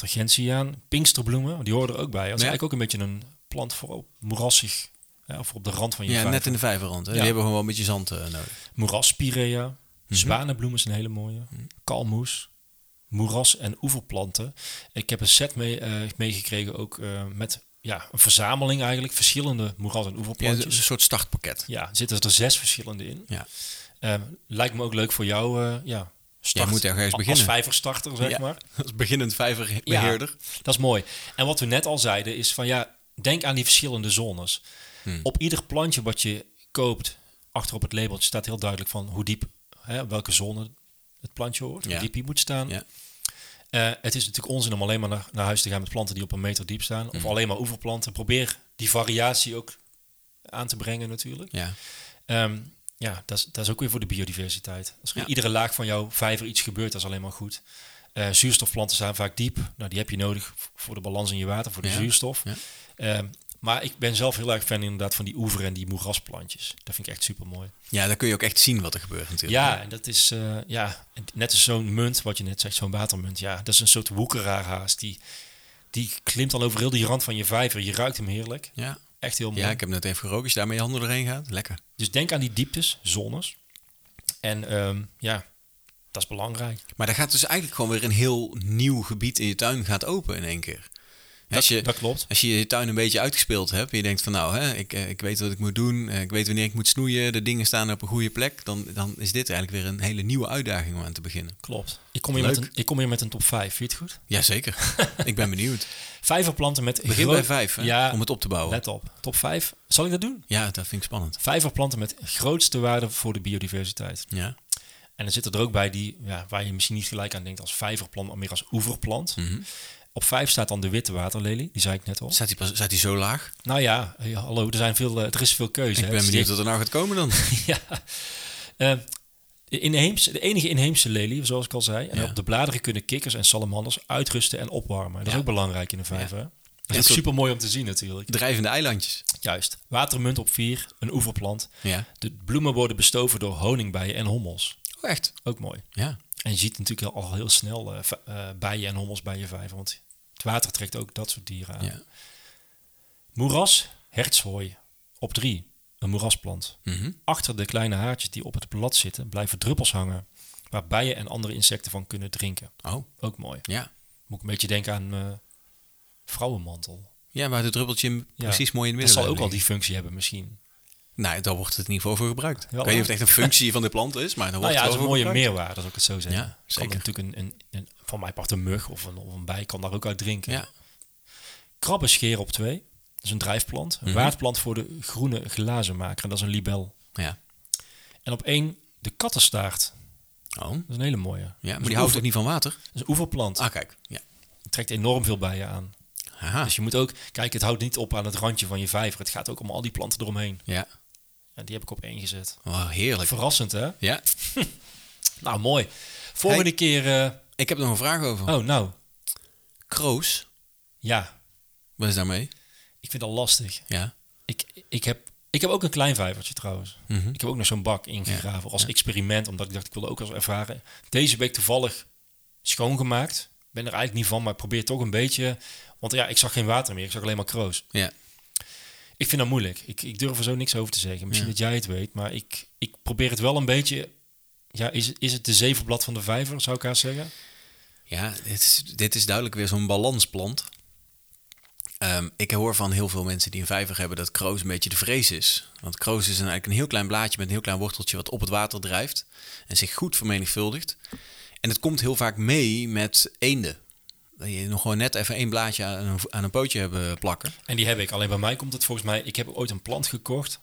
Speaker 2: Watergentiaan, pinksterbloemen, die horen er ook bij. Dat is
Speaker 1: Ja.
Speaker 2: eigenlijk ook een beetje een plant voor op moerassig, ja, of op de rand van je
Speaker 1: Ja,
Speaker 2: vijver.
Speaker 1: net in de vijverrand. Hè?
Speaker 2: Ja.
Speaker 1: Die hebben gewoon een beetje zand eh, nodig.
Speaker 2: Moeraspirea,
Speaker 1: Mhm.
Speaker 2: zwanenbloem is een hele mooie. Kalmoes, moeras- en oeverplanten. Ik heb een set mee, eh, meegekregen ook eh, met ja, een verzameling eigenlijk. Verschillende moeras- en
Speaker 1: Ja, het
Speaker 2: oeverplantjes.
Speaker 1: is een soort startpakket.
Speaker 2: Ja, er zitten er zes verschillende in.
Speaker 1: Ja.
Speaker 2: Eh, lijkt me ook leuk voor jou. eh, ja, start,
Speaker 1: moet ergens
Speaker 2: als
Speaker 1: beginnen.
Speaker 2: vijverstarter, zeg
Speaker 1: Ja.
Speaker 2: maar.
Speaker 1: Als beginnend vijverbeheerder.
Speaker 2: Dat is mooi. En wat we net al zeiden is van ja, denk aan die verschillende zones.
Speaker 1: Hmm.
Speaker 2: Op ieder plantje wat je koopt, achter op het labeltje staat heel duidelijk van hoe diep, hè, op welke zone het plantje hoort,
Speaker 1: Ja.
Speaker 2: hoe diep die moet staan.
Speaker 1: Ja.
Speaker 2: Eh, het is natuurlijk onzin om alleen maar naar, naar huis te gaan met planten die op een meter diep staan.
Speaker 1: Hmm.
Speaker 2: Of alleen maar oeverplanten. Probeer die variatie ook aan te brengen natuurlijk.
Speaker 1: Ja.
Speaker 2: Ehm, ja, dat is, dat is ook weer voor de biodiversiteit. Als er in
Speaker 1: Ja.
Speaker 2: iedere laag van jouw vijver iets gebeurt, dat is alleen maar goed. Eh, zuurstofplanten zijn vaak diep. Nou, die heb je nodig v- voor de balans in je water, voor de
Speaker 1: Ja.
Speaker 2: zuurstof.
Speaker 1: Ja.
Speaker 2: Ehm, maar ik ben zelf heel erg fan inderdaad van die oever en die moerasplantjes. Dat vind ik echt super mooi.
Speaker 1: ja, dan kun je ook echt zien wat er gebeurt natuurlijk.
Speaker 2: Ja, en dat is eh, ja, net als zo'n munt, wat je net zegt, zo'n watermunt. Ja, dat is een soort woekeraar haast. Die, die klimt al over heel die rand van je vijver. Je ruikt hem heerlijk.
Speaker 1: Ja.
Speaker 2: Echt heel mooi.
Speaker 1: ja, ik heb net even gerookt. Als je daarmee je handen doorheen gaat, lekker.
Speaker 2: Dus denk aan die dieptes, zones. En ehm, ja, dat is belangrijk.
Speaker 1: Maar daar gaat dus eigenlijk gewoon weer een heel nieuw gebied in je tuin gaat open in één keer. Als je,
Speaker 2: dat klopt.
Speaker 1: als je je tuin een beetje uitgespeeld hebt en je denkt van nou, hè, ik, eh, ik weet wat ik moet doen, eh, ik weet wanneer ik moet snoeien, de dingen staan op een goede plek, dan, dan is dit eigenlijk weer een hele nieuwe uitdaging om aan te beginnen.
Speaker 2: Klopt. Ik kom, hier
Speaker 1: Leuk.
Speaker 2: met een, ik kom hier met een top 5, vind je het goed?
Speaker 1: Jazeker, ik ben benieuwd.
Speaker 2: Vijverplanten met...
Speaker 1: Begin
Speaker 2: groot-
Speaker 1: bij vijf hè,
Speaker 2: Ja,
Speaker 1: om het op te bouwen.
Speaker 2: let op. Top 5. Zal ik dat doen?
Speaker 1: Ja, dat vind ik spannend.
Speaker 2: Vijverplanten met grootste waarde voor de biodiversiteit.
Speaker 1: Ja,
Speaker 2: En er zitten er ook bij die, ja, waar je misschien niet gelijk aan denkt als vijverplant, maar meer als oeverplant.
Speaker 1: Mhm.
Speaker 2: Op vijf staat dan de witte waterlelie, die zei ik net al.
Speaker 1: staat die, pas, staat die zo laag?
Speaker 2: Nou ja, eh, hallo, er, zijn veel, eh, er is veel keuze.
Speaker 1: Ik
Speaker 2: hè.
Speaker 1: ben
Speaker 2: Het is
Speaker 1: benieuwd
Speaker 2: niet-
Speaker 1: wat er nou gaat komen dan.
Speaker 2: ja. Eh, de inheemse, de enige inheemse lelie, zoals ik al zei. En
Speaker 1: Ja.
Speaker 2: op de bladeren kunnen kikkers en salamanders uitrusten en opwarmen. Dat is
Speaker 1: Ja.
Speaker 2: ook belangrijk in een vijver. hè? Dat
Speaker 1: Een
Speaker 2: is
Speaker 1: soort-
Speaker 2: super mooi om te zien natuurlijk.
Speaker 1: Drijvende eilandjes.
Speaker 2: Juist. Watermunt op vier, een oeverplant.
Speaker 1: Ja.
Speaker 2: De bloemen worden bestoven door honingbijen en hommels.
Speaker 1: Oh, echt?
Speaker 2: Ook mooi.
Speaker 1: Ja.
Speaker 2: En je ziet natuurlijk al heel snel eh, v- eh, bijen en hommels bij je vijver. Want het water trekt ook dat soort dieren aan.
Speaker 1: Ja.
Speaker 2: Moeras, hertshooi. Op drie, een moerasplant.
Speaker 1: Mhm.
Speaker 2: Achter de kleine haartjes die op het blad zitten blijven druppels hangen. Waar bijen en andere insecten van kunnen drinken.
Speaker 1: Oh,
Speaker 2: Ook mooi.
Speaker 1: ja.
Speaker 2: Moet ik een beetje denken aan eh, vrouwenmantel.
Speaker 1: Ja, waar de druppeltje precies mooi in het
Speaker 2: Dat
Speaker 1: midden
Speaker 2: zal ook
Speaker 1: blijft
Speaker 2: al die functie hebben misschien.
Speaker 1: liggen. Nou, daar wordt het in ieder geval voor gebruikt.
Speaker 2: Wel,
Speaker 1: ik weet niet
Speaker 2: ja.
Speaker 1: of het echt een functie van de plant is, maar dan
Speaker 2: Nou
Speaker 1: wordt
Speaker 2: ja,
Speaker 1: het
Speaker 2: dat is
Speaker 1: wel
Speaker 2: een
Speaker 1: voor
Speaker 2: mooie
Speaker 1: gebruikt.
Speaker 2: meerwaarde, als ik het zo zeg.
Speaker 1: Ja,
Speaker 2: Kan
Speaker 1: zeker.
Speaker 2: natuurlijk een, een, een, van mij part een mug of een, of een bij kan daar ook uit drinken.
Speaker 1: Ja.
Speaker 2: Krabbenscheer op twee. Dat is een drijfplant.
Speaker 1: Mhm.
Speaker 2: Een waardplant voor de groene glazenmaker. En dat is een libel.
Speaker 1: Ja.
Speaker 2: En op één, de kattenstaart.
Speaker 1: Oh,
Speaker 2: Dat is een hele mooie.
Speaker 1: ja. Maar
Speaker 2: Dat is
Speaker 1: die
Speaker 2: een
Speaker 1: houdt
Speaker 2: oever-
Speaker 1: ook niet van water?
Speaker 2: Dat is een oeverplant.
Speaker 1: Ah, kijk. Ja.
Speaker 2: Het trekt enorm veel bijen aan.
Speaker 1: Haha.
Speaker 2: Dus je moet ook... Kijk, het houdt niet op aan het randje van je vijver. Het gaat ook om al die planten eromheen.
Speaker 1: Ja.
Speaker 2: En die heb ik op één gezet.
Speaker 1: Oh, heerlijk.
Speaker 2: Verrassend, hè?
Speaker 1: Ja.
Speaker 2: Nou, mooi. Volgende
Speaker 1: Hey.
Speaker 2: keer... eh,
Speaker 1: Ik heb nog een vraag over.
Speaker 2: oh, nou.
Speaker 1: Kroos,
Speaker 2: Ja.
Speaker 1: wat is daarmee?
Speaker 2: Ik vind dat lastig.
Speaker 1: Ja.
Speaker 2: Ik, ik, heb, ik heb ook een klein vijvertje trouwens.
Speaker 1: Mhm.
Speaker 2: Ik heb ook nog zo'n bak ingegraven als experiment. Omdat ik dacht, ik wilde ook eens ervaren. Deze week toevallig schoongemaakt. Ik ben er eigenlijk niet van, maar ik probeer toch een beetje... Want ja, ik zag geen water meer. Ik zag alleen maar kroos.
Speaker 1: Ja.
Speaker 2: Ik vind dat moeilijk. Ik, ik durf er zo niks over te zeggen. Misschien dat jij het weet, maar ik, ik probeer het wel een beetje... Ja, is, het- is het de zevenblad van de vijver, zou ik haar zeggen?
Speaker 1: Ja, dit is, dit is duidelijk weer zo'n balansplant. Ehm, ik hoor van heel veel mensen die een vijver hebben dat kroos een beetje de vrees is. Want kroos is een- eigenlijk een heel klein blaadje met een heel klein worteltje wat op het water drijft en zich goed vermenigvuldigt. En het komt heel vaak mee met eenden. je nog gewoon net even één blaadje aan een, aan een pootje hebben plakken.
Speaker 2: En die heb ik. Alleen bij mij komt het volgens mij... Ik heb ooit een plant gekocht.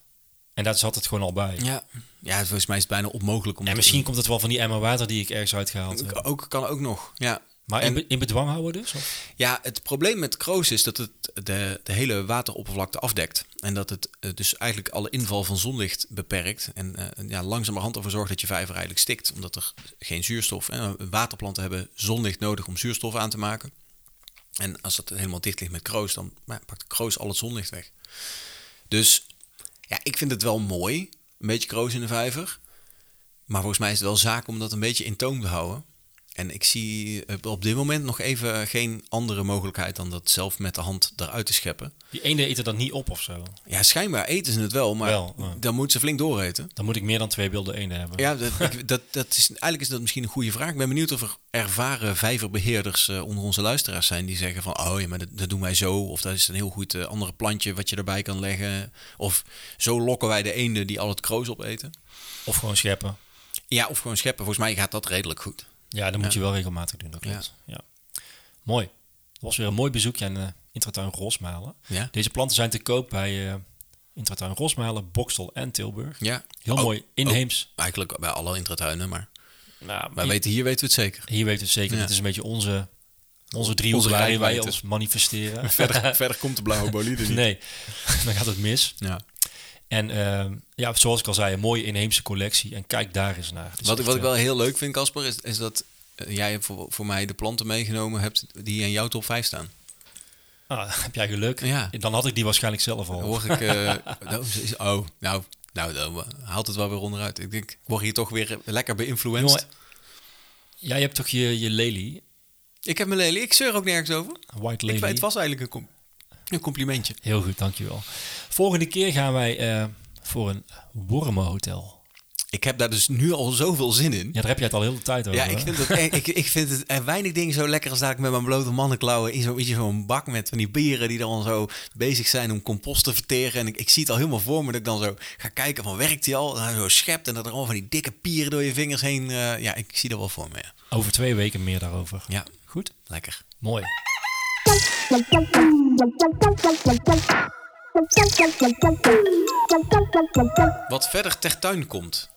Speaker 2: En daar zat het gewoon al bij.
Speaker 1: Ja, ja volgens mij is het bijna onmogelijk om
Speaker 2: En
Speaker 1: dat
Speaker 2: misschien
Speaker 1: in-
Speaker 2: komt het wel van die emmer water die ik ergens uitgehaald heb.
Speaker 1: ook, kan ook nog. Ja.
Speaker 2: Maar
Speaker 1: En-
Speaker 2: in, be- in bedwang houden dus? Of?
Speaker 1: Ja, het probleem met kroos is dat het de, de hele wateroppervlakte afdekt. En dat het eh, dus eigenlijk alle inval van zonlicht beperkt. En eh, ja, langzamerhand ervoor zorgt dat je vijver eigenlijk stikt. Omdat er geen zuurstof... En waterplanten hebben zonlicht nodig om zuurstof aan te maken. En als dat helemaal dicht ligt met kroos, dan nou, pakt kroos al het zonlicht weg. Dus ja, ik vind het wel mooi. Een beetje kroos in de vijver. Maar volgens mij is het wel zaak om dat een beetje in toom te houden. En ik zie eh, op dit moment nog even geen andere mogelijkheid dan dat zelf met de hand eruit te scheppen.
Speaker 2: Die ene eet er dan niet op of zo.
Speaker 1: Ja, schijnbaar eten ze het wel, maar
Speaker 2: Wel, ja.
Speaker 1: dan moeten ze flink dooreten.
Speaker 2: Dan moet ik meer dan twee beelden eenden hebben.
Speaker 1: Ja, dat, ik- dat, dat is, eigenlijk is dat misschien een goede vraag. Ik ben benieuwd of er ervaren vijverbeheerders eh, onder onze luisteraars zijn die zeggen van, oh ja, maar dat, dat doen wij zo. Of dat is een heel goed eh, andere plantje wat je erbij kan leggen. Of zo lokken wij de eenden die al het kroos opeten.
Speaker 2: Of gewoon scheppen.
Speaker 1: Ja, of gewoon scheppen. Volgens mij gaat dat redelijk goed.
Speaker 2: Ja, dat moet je wel regelmatig doen. Dat klopt. Ja. Mooi. Dat was weer een mooi bezoekje aan eh Intratuin Rosmalen.
Speaker 1: Ja.
Speaker 2: Deze planten zijn te koop bij eh Intratuin Rosmalen, Boksel en Tilburg.
Speaker 1: Ja. Oh,
Speaker 2: Heel
Speaker 1: Ook-
Speaker 2: mooi. Inheems.
Speaker 1: ook Eigenlijk bij alle intratuinen, maar
Speaker 2: Nou,
Speaker 1: wij
Speaker 2: hier,
Speaker 1: weten, hier weten we het zeker.
Speaker 2: hier weten we het zeker.
Speaker 1: Ja.
Speaker 2: Dit is een beetje onze, onze driehoek
Speaker 1: Onze
Speaker 2: waarin wij
Speaker 1: rijkwijde.
Speaker 2: ons manifesteren.
Speaker 1: verder, verder komt de blauwe bolide niet.
Speaker 2: nee, dan gaat het mis.
Speaker 1: Ja.
Speaker 2: En eh, ja, zoals ik al zei, een mooie inheemse collectie. En kijk daar eens naar. Het is
Speaker 1: Wat, ik-
Speaker 2: echt,
Speaker 1: wat ik
Speaker 2: eh,
Speaker 1: wel heel leuk vind, Casper, is, is dat eh, jij voor, voor mij de planten meegenomen hebt die in jouw top 5 staan.
Speaker 2: ah, heb jij geluk?
Speaker 1: Ja.
Speaker 2: Dan had ik die waarschijnlijk zelf al.
Speaker 1: Dan hoor ik... eh, nou, is- is- oh, nou, nou, dan haalt het wel weer onderuit. Ik denk, ik word hier toch weer lekker beïnfluenced.
Speaker 2: Jongen, jij hebt toch je, je lely,
Speaker 1: Ik heb mijn lely, ik zeur ook nergens over.
Speaker 2: white
Speaker 1: Ik,
Speaker 2: lely.
Speaker 1: weet- het was eigenlijk een, com- een complimentje.
Speaker 2: Heel goed, dankjewel. Volgende keer gaan wij eh, voor een wormenhotel.
Speaker 1: Ik heb daar dus nu al zoveel zin in.
Speaker 2: Ja, daar heb jij het al heel de tijd over.
Speaker 1: Ja,
Speaker 2: hè?
Speaker 1: ik vind, het, echt- ik, ik vind het er weinig dingen zo lekker als dat ik met mijn blote mannenklauwen in zo'n zo bak met van die bieren die dan zo bezig zijn om compost te verteren. En ik, ik zie het al helemaal voor me dat ik dan zo ga kijken van werkt die al? En dan zo schept en dat er al van die dikke pieren door je vingers heen. eh, ja, ik zie dat wel voor me. Ja,
Speaker 2: Over twee weken meer daarover.
Speaker 1: Ja.
Speaker 2: Goed?
Speaker 1: lekker.
Speaker 2: Mooi.
Speaker 1: Wat verder ter tuin komt.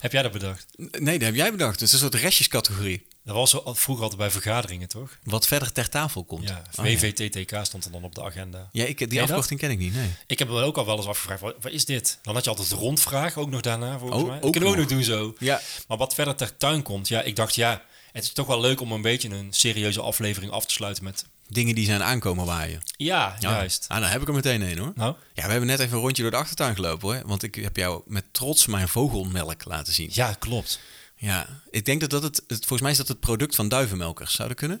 Speaker 2: Heb jij dat bedacht?
Speaker 1: N- Nee, dat heb jij bedacht. Het is een soort restjescategorie.
Speaker 2: Dat was zo- al- vroeger altijd bij vergaderingen, toch?
Speaker 1: Wat verder ter tafel komt.
Speaker 2: Ja,
Speaker 1: Oh, ja.
Speaker 2: VVTTK stond er dan op de agenda.
Speaker 1: Ja, ik, die
Speaker 2: je dat?
Speaker 1: afkorting ken ik niet, nee.
Speaker 2: Ik heb me ook al wel eens afgevraagd, wat, wat is dit? Dan had je altijd rondvragen, ook nog daarna volgens
Speaker 1: Oh,
Speaker 2: mij. Dat
Speaker 1: ook
Speaker 2: kunnen we ook nog
Speaker 1: nog.
Speaker 2: doen zo.
Speaker 1: Ja.
Speaker 2: Maar wat verder ter tuin komt, ja, ik dacht ja, het is toch wel leuk om een beetje een serieuze aflevering af te sluiten met...
Speaker 1: Dingen die zijn aankomen waaien.
Speaker 2: Ja, juist.
Speaker 1: Ah, dan heb ik er meteen een hoor.
Speaker 2: Nou?
Speaker 1: Ja, we hebben net even een rondje door de achtertuin gelopen hoor. Want ik heb jou met trots mijn vogelmelk laten zien.
Speaker 2: Ja, klopt.
Speaker 1: Ja, ik denk dat dat het, het volgens mij is dat het product van duivenmelkers. Zou dat kunnen?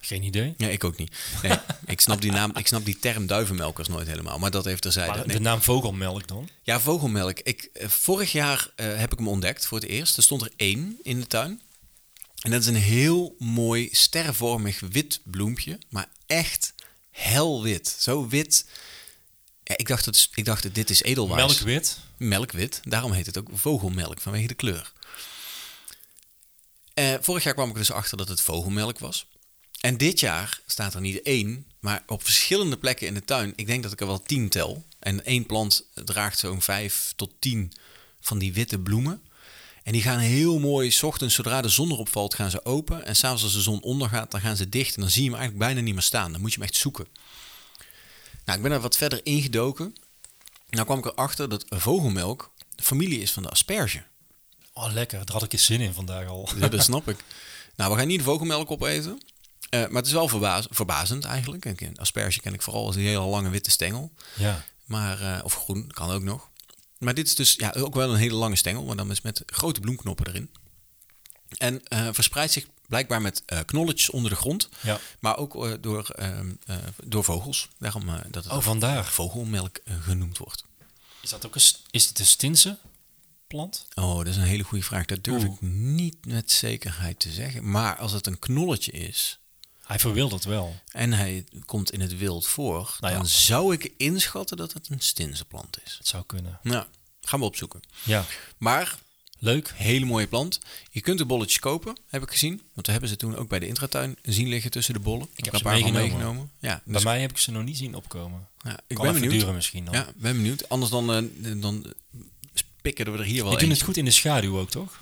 Speaker 2: Geen idee.
Speaker 1: Ja, ik ook niet. Nee, ik snap die naam, ik snap die term duivenmelkers nooit helemaal. Maar dat even terzijde.
Speaker 2: Maar
Speaker 1: Nee.
Speaker 2: de naam vogelmelk dan?
Speaker 1: Ja, vogelmelk. Ik, eh, vorig jaar eh, heb ik hem ontdekt voor het eerst. Er stond er één in de tuin. En dat is een heel mooi stervormig wit bloempje. Maar echt helwit. Zo wit. Ja, ik, dacht, dat is- ik dacht, dit is edelwaars.
Speaker 2: Melkwit.
Speaker 1: melkwit. Daarom heet het ook vogelmelk, vanwege de kleur. Eh, vorig jaar kwam ik er dus achter dat het vogelmelk was. En dit jaar staat er niet één, maar op verschillende plekken in de tuin. Ik denk dat ik er wel tien tel. En één plant draagt zo'n vijf tot tien van die witte bloemen. En die gaan heel mooi, 's ochtends zodra de zon erop valt, gaan ze open. En s'avonds als de zon ondergaat, dan gaan ze dicht. En dan zie je hem eigenlijk bijna niet meer staan. Dan moet je hem echt zoeken. Nou, ik ben er wat verder ingedoken. Nou kwam ik erachter dat vogelmelk de familie is van de asperge. Dus
Speaker 2: Oh, lekker. Daar had ik eens zin in vandaag al.
Speaker 1: Ja, dat snap ik. Nou, we gaan niet de vogelmelk opeten. Eh, maar het is wel verbaas- verbazend eigenlijk. Ik- Een asperge ken ik vooral als die hele lange witte stengel.
Speaker 2: Ja.
Speaker 1: Maar, eh, of groen, kan ook nog. Maar dit is dus ja, ook wel een hele lange stengel, maar dan is met grote bloemknoppen erin. En eh, verspreidt zich blijkbaar met eh, knolletjes onder de grond.
Speaker 2: Ja.
Speaker 1: Maar ook eh, door, ehm, eh, door vogels. Daarom eh, dat het
Speaker 2: Oh,
Speaker 1: ook
Speaker 2: vandaar.
Speaker 1: vogelmelk eh, genoemd wordt.
Speaker 2: Is dat ook een, st- is het een stinse plant?
Speaker 1: Oh, dat is een hele goede vraag. Dat durf
Speaker 2: Oeh.
Speaker 1: ik niet met zekerheid te zeggen. Maar als het een knolletje is
Speaker 2: Hij verwildert wel.
Speaker 1: en hij komt in het wild voor,
Speaker 2: Nou ja.
Speaker 1: dan zou ik inschatten dat het een stinzenplant is.
Speaker 2: Het zou kunnen.
Speaker 1: Nou, gaan we opzoeken.
Speaker 2: Ja.
Speaker 1: Maar
Speaker 2: Leuk.
Speaker 1: Hele mooie plant. Je kunt de bolletjes kopen, heb ik gezien. Want we hebben ze toen ook bij de intratuin zien liggen tussen de bollen. Ik,
Speaker 2: heb
Speaker 1: een
Speaker 2: ze
Speaker 1: paar van
Speaker 2: meegenomen.
Speaker 1: Ja,
Speaker 2: Bij
Speaker 1: dus,
Speaker 2: mij heb ik ze nog niet zien opkomen.
Speaker 1: ja, ik
Speaker 2: kan
Speaker 1: ben
Speaker 2: even
Speaker 1: benieuwd.
Speaker 2: duren misschien dan.
Speaker 1: Ja, ben benieuwd. Anders dan, eh, dan pikken we er hier wel
Speaker 2: Die doen het
Speaker 1: eentje.
Speaker 2: goed in de schaduw ook, toch?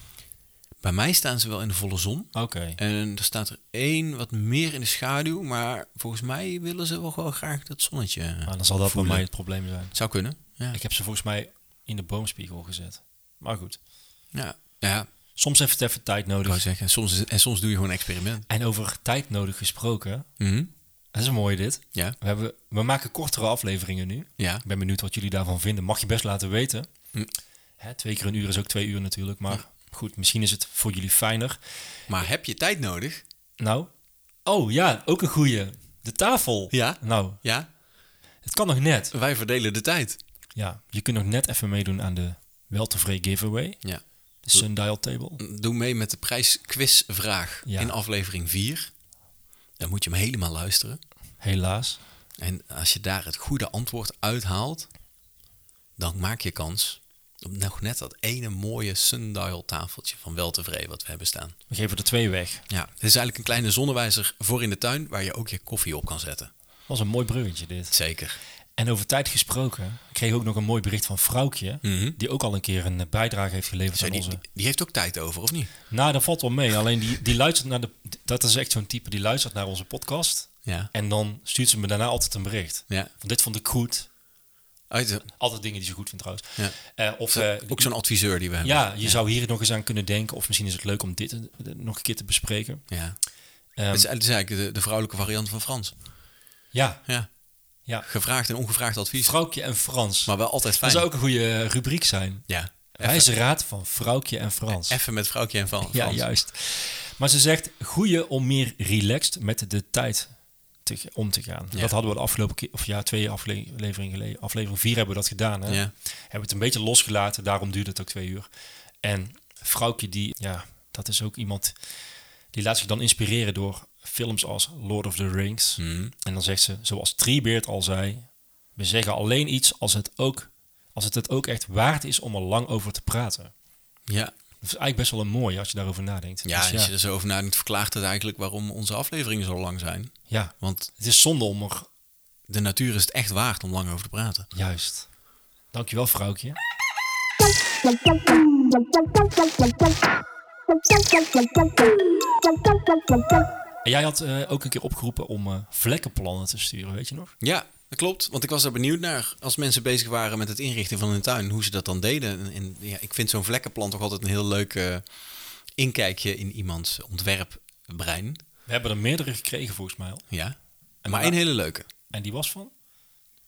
Speaker 1: Bij mij staan ze wel in de volle zon.
Speaker 2: Oké.
Speaker 1: En er staat er één wat meer in de schaduw. Maar volgens mij willen ze wel gewoon graag dat zonnetje.
Speaker 2: Maar dan zal
Speaker 1: voelen.
Speaker 2: dat voor mij het probleem zijn.
Speaker 1: Zou kunnen. Ja.
Speaker 2: Ik heb ze volgens mij in de boomspiegel gezet. Maar goed,
Speaker 1: Ja. Ja, ik
Speaker 2: soms heeft het even tijd
Speaker 1: wou
Speaker 2: nodig.
Speaker 1: zeggen. Soms is- en soms doe je gewoon een experiment.
Speaker 2: En over tijd nodig gesproken,
Speaker 1: Mhm.
Speaker 2: dat is mooi dit.
Speaker 1: Ja.
Speaker 2: We, hebben, we maken kortere afleveringen nu.
Speaker 1: Ja.
Speaker 2: Ik ben benieuwd wat jullie daarvan vinden. Mag je best laten weten.
Speaker 1: Hm.
Speaker 2: Hè, twee keer een uur is ook twee uur natuurlijk. Maar goed, misschien is het voor jullie fijner.
Speaker 1: Maar heb je tijd nodig?
Speaker 2: Nou, oh ja, ook een goeie. De tafel.
Speaker 1: Ja.
Speaker 2: Nou,
Speaker 1: Ja.
Speaker 2: het kan nog net.
Speaker 1: Wij verdelen de tijd.
Speaker 2: Ja, je kunt nog net even meedoen aan de weltevreden giveaway.
Speaker 1: Ja.
Speaker 2: De sundial table.
Speaker 1: Doe mee met de prijsquizvraag
Speaker 2: Ja.
Speaker 1: in aflevering 4. Dan moet je hem helemaal luisteren.
Speaker 2: Helaas.
Speaker 1: En als je daar het goede antwoord uithaalt, dan maak je kans op nog net dat ene mooie sundial tafeltje van weltevreden wat we hebben staan.
Speaker 2: We geven er twee weg.
Speaker 1: Ja, het is eigenlijk een kleine zonnewijzer voor in de tuin waar je ook je koffie op kan zetten.
Speaker 2: Was een mooi bruggetje dit.
Speaker 1: Zeker.
Speaker 2: En over tijd gesproken, ik kreeg ook nog een mooi bericht van Vrouwkje. Die ook al een keer een eh, bijdrage heeft
Speaker 1: Mhm.
Speaker 2: geleverd
Speaker 1: Zo,
Speaker 2: aan
Speaker 1: die,
Speaker 2: onze...
Speaker 1: die heeft ook tijd over, of niet?
Speaker 2: Nou, dat valt wel mee. Alleen die, die luistert naar de... Dat is echt zo'n type, die luistert naar onze podcast.
Speaker 1: Ja.
Speaker 2: En dan stuurt ze me daarna altijd een bericht.
Speaker 1: Ja.
Speaker 2: Van dit vond ik goed.
Speaker 1: Uit de-
Speaker 2: Altijd dingen die ze goed vindt trouwens.
Speaker 1: Ja.
Speaker 2: Eh, of eh,
Speaker 1: ook zo'n adviseur die we hebben.
Speaker 2: ja, je zou hier nog eens aan kunnen denken. Of misschien is het leuk om dit eh, nog een keer te bespreken.
Speaker 1: ja.
Speaker 2: Ehm,
Speaker 1: het, is, het is eigenlijk de, de vrouwelijke variant van Frans.
Speaker 2: ja,
Speaker 1: Ja.
Speaker 2: Ja.
Speaker 1: Gevraagd en ongevraagd advies.
Speaker 2: Vrouwkje en Frans.
Speaker 1: Maar wel altijd fijn.
Speaker 2: dat zou ook een goede eh, rubriek zijn.
Speaker 1: Ja. Even,
Speaker 2: Wijze raad van Vrouwkje en Frans.
Speaker 1: even met vrouwtje en van.
Speaker 2: Ja,
Speaker 1: Frans.
Speaker 2: juist. Maar ze zegt, goeie om meer relaxed met de tijd te, om te gaan.
Speaker 1: Ja.
Speaker 2: Dat hadden we de afgelopen keer, of ja, twee afleveringen geleden, aflevering vier hebben we dat gedaan. Hè?
Speaker 1: Ja.
Speaker 2: Hebben we het een beetje losgelaten, daarom duurde het ook twee uur. En Vrouwkje, die, ja, dat is ook iemand, die laat zich dan inspireren door films als Lord of the Rings.
Speaker 1: Mhm.
Speaker 2: En dan zegt ze, zoals Treebeard al zei, we zeggen alleen iets als het, ook, als het het ook echt waard is om er lang over te praten.
Speaker 1: Ja,
Speaker 2: Dat is eigenlijk best wel een mooie als je daarover nadenkt.
Speaker 1: ja,
Speaker 2: Dus
Speaker 1: als je er zo over nadenkt, verklaart het eigenlijk waarom onze afleveringen zo lang zijn.
Speaker 2: ja,
Speaker 1: Want
Speaker 2: het is zonde om er...
Speaker 1: de natuur is het echt waard om lang over te praten.
Speaker 2: Juist. Dankjewel, vrouwtje. En jij had eh, ook een keer opgeroepen om eh, vlekkenplannen te sturen, weet je nog?
Speaker 1: Ja, dat klopt. Want ik was er benieuwd naar als mensen bezig waren met het inrichten van hun tuin, hoe ze dat dan deden. En, en ja, ik vind zo'n vlekkenplant toch altijd een heel leuk eh, inkijkje in iemands ontwerpbrein.
Speaker 2: We hebben er meerdere gekregen volgens mij al.
Speaker 1: Ja.
Speaker 2: En
Speaker 1: maar
Speaker 2: waar-
Speaker 1: één hele leuke.
Speaker 2: En die was van?